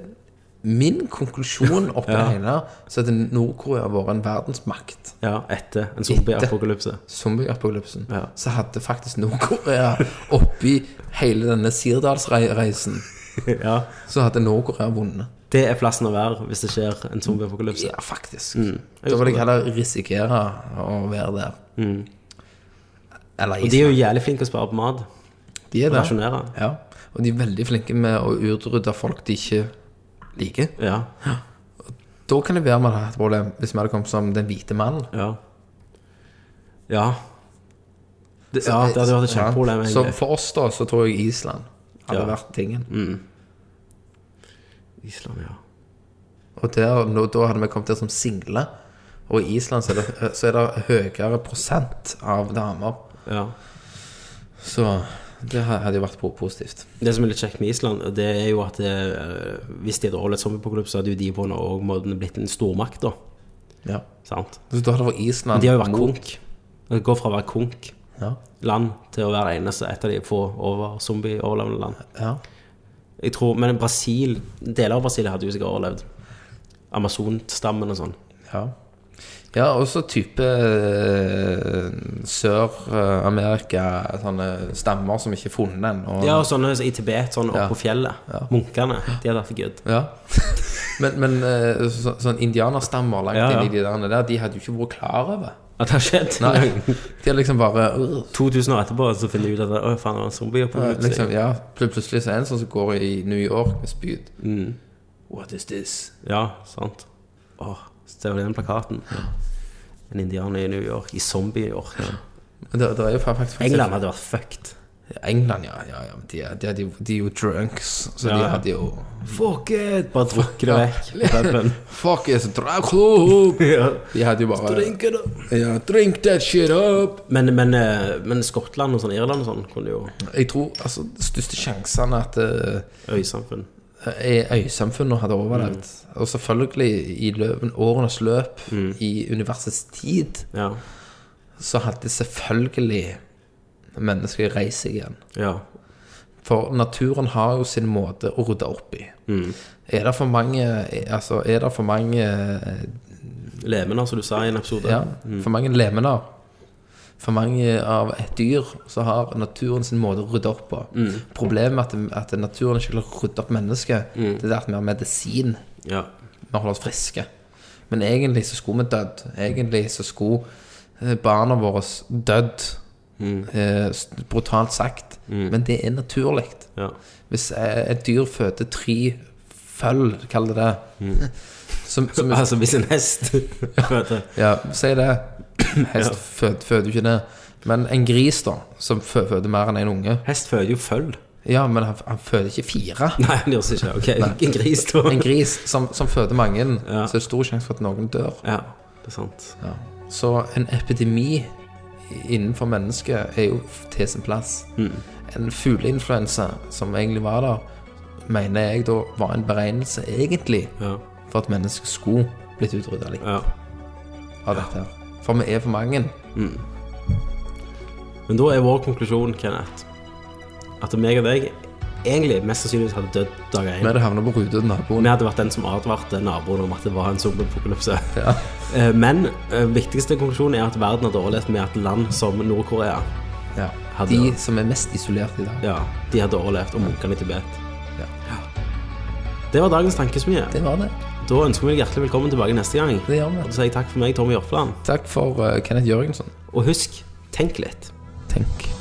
[SPEAKER 5] min konklusjon oppi det hele så hadde Nord-Korea vært en verdensmakt.
[SPEAKER 1] Ja, etter en zombieapokalypse.
[SPEAKER 5] Zombieapokalypsen.
[SPEAKER 1] Ja.
[SPEAKER 5] Så hadde faktisk Nord-Korea oppi hele denne Sirdalsreisen
[SPEAKER 1] Ja,
[SPEAKER 5] Så hadde Nord-Korea vunnet.
[SPEAKER 1] det er plassen å være hvis det skjer en zombieapokalypse.
[SPEAKER 5] Ja, faktisk.
[SPEAKER 1] Mm.
[SPEAKER 5] Da vil jeg heller risikere å være der. Eller
[SPEAKER 1] Mm. Og de er jo jævlig flinke til å spare på mat.
[SPEAKER 5] de er
[SPEAKER 1] Rasjonere.
[SPEAKER 5] Ja. Og de er veldig flinke med å utrydde folk de ikke liker.
[SPEAKER 1] Ja,
[SPEAKER 5] Da kan det være man har et problem hvis vi hadde kommet som den hvite mannen.
[SPEAKER 1] ja. Ja. Det, ja, det hadde vært et kjempeproblem.
[SPEAKER 5] Så
[SPEAKER 1] egentlig.
[SPEAKER 5] for oss, da, så tror jeg Island hadde
[SPEAKER 1] Ja.
[SPEAKER 5] vært tingen.
[SPEAKER 1] Island, ja.
[SPEAKER 5] Og der, nå, da hadde vi kommet der som single. Og i Island så er det, så er det høyere prosent av damer.
[SPEAKER 1] ja.
[SPEAKER 5] Så det hadde jo vært po- positivt.
[SPEAKER 1] Det som er litt kjekt med Island, det er jo at eh, hvis de hadde holdt et zombieapokalypse, så hadde jo de på en og måten blitt en stormakt, da.
[SPEAKER 5] Ja.
[SPEAKER 1] Sant?
[SPEAKER 5] Så da hadde det vært Island
[SPEAKER 1] Men de har jo vært
[SPEAKER 5] mot-
[SPEAKER 1] konk. Det går fra å være konk-land
[SPEAKER 5] Ja.
[SPEAKER 1] til å være eneste et av de få over zombie-overlevende land.
[SPEAKER 5] ja.
[SPEAKER 1] Jeg tror, Men Brasil, deler av Brasil hadde jo sikkert overlevd. Amazonstammen og sånn.
[SPEAKER 5] Ja. Ja, også type eh, Sør-Amerika, sånne stammer som ikke er funnet ennå.
[SPEAKER 1] Ja, og sånne i Tibet, sånn oppe
[SPEAKER 5] Ja.
[SPEAKER 1] på fjellet. Munkene. De hadde vært for good.
[SPEAKER 5] Ja. Men, men eh, så, sånn indianerstammer langt
[SPEAKER 1] Ja, ja.
[SPEAKER 5] inn i de der, der, de hadde jo ikke vært klar over.
[SPEAKER 1] At det har skjedd.
[SPEAKER 5] Nei. De hadde liksom bare øh,
[SPEAKER 1] 2000 år etterpå så finner de ut at Å, faen, det var en zombieapokalypse.
[SPEAKER 5] liksom, ja, pl- Plutselig så er det en sånn som går i New York med spyd.
[SPEAKER 1] Mm.
[SPEAKER 5] What is this?
[SPEAKER 1] Ja, sant. Åh, se på den plakaten. En indianer i New York, i zombie-York.
[SPEAKER 5] Men Det, det er jo fa- faktisk
[SPEAKER 1] England hadde vært fucked.
[SPEAKER 5] England, ja. ja, ja men de, er- de, er jo- de er jo drunks, så
[SPEAKER 1] Ja,
[SPEAKER 5] de
[SPEAKER 1] ja.
[SPEAKER 5] hadde jo
[SPEAKER 1] Fuck it! Bare drukket det vekk. på puben.
[SPEAKER 5] Fuck is drug
[SPEAKER 1] Ja.
[SPEAKER 5] De hadde jo bare
[SPEAKER 1] Drink it up.
[SPEAKER 5] Ja, drink that shit up!
[SPEAKER 1] Men, men, eh, men Skottland og sånn, Irland og sånn kunne jo
[SPEAKER 5] Jeg tror altså de største sjansene at eh,
[SPEAKER 1] Øysamfunn.
[SPEAKER 5] er øysamfunnet hadde overlevd. Og selvfølgelig, i løven, årenes løp, i universets tid,
[SPEAKER 1] Ja.
[SPEAKER 5] så hadde selvfølgelig mennesker reist seg igjen.
[SPEAKER 1] ja.
[SPEAKER 5] For naturen har jo sin måte å rydde opp i. Er det for mange Altså, er det for mange
[SPEAKER 1] Lemener, som du sa i en episode.
[SPEAKER 5] Ja, for mange lemener. For mange av et dyr så har naturen sin måte å rydde opp på. Problemet med at, at naturen ikke klarer å rydde opp mennesket, det er det at vi har medisin.
[SPEAKER 1] Ja.
[SPEAKER 5] Vi holder oss friske. Men egentlig så skulle vi dødd. Egentlig så skulle eh, barna våre dødd.
[SPEAKER 1] Mm.
[SPEAKER 5] Eh, s- brutalt sagt. Men det er naturlig.
[SPEAKER 1] ja.
[SPEAKER 5] Hvis eh, et dyr føder tre føll, kall det det
[SPEAKER 1] Mm.
[SPEAKER 5] som, som,
[SPEAKER 1] Altså, hvis en hest føder
[SPEAKER 5] Ja, si det. Hest fød, føder jo ikke det. Men en gris, da, som fø- føder mer enn en unge
[SPEAKER 1] Hest føder jo føll.
[SPEAKER 5] Ja, men han, han føder ikke fire.
[SPEAKER 1] Nei, han gjør seg ikke. Ok, en gris, da.
[SPEAKER 5] En gris som, som føder mange,
[SPEAKER 1] Ja.
[SPEAKER 5] så er det stor sjanse for at noen dør.
[SPEAKER 1] Ja, det er sant.
[SPEAKER 5] Ja. Så en epidemi innenfor mennesket er jo til sin plass.
[SPEAKER 1] Mm.
[SPEAKER 5] En fugleinfluensa, som egentlig var der, mener jeg da var en beregnelse egentlig
[SPEAKER 1] Ja.
[SPEAKER 5] for at mennesket skulle blitt utrydda litt
[SPEAKER 1] ja.
[SPEAKER 5] av dette. her. For vi er for mange.
[SPEAKER 1] Men da er vår konklusjon, Kenneth, at meg og deg egentlig mest sannsynligvis hadde dødd dag
[SPEAKER 5] Vi
[SPEAKER 1] én.
[SPEAKER 5] hadde havna på ruta til naboen.
[SPEAKER 1] Vi hadde vært den som advarte naboen om at det var en zombieapokalypse. Eh, Men eh, viktigste konklusjonen er at verden har dårlighet med at land som Nord-Korea
[SPEAKER 5] Ja.
[SPEAKER 1] Hadde-
[SPEAKER 5] De som er mest isolert i dag.
[SPEAKER 1] ja, de har dårlighet, og munkene i Tibet.
[SPEAKER 5] Ja.
[SPEAKER 1] Det var dagens tankesmie.
[SPEAKER 5] Det var det.
[SPEAKER 1] Da ønsker vi deg hjertelig velkommen tilbake neste gang.
[SPEAKER 5] Det gjør vi.
[SPEAKER 1] Og da sier jeg takk for meg, Tommy Jørpeland.
[SPEAKER 5] Takk for eh, Kenneth Jørgensen.
[SPEAKER 1] Og husk, tenk litt.
[SPEAKER 5] Tenk.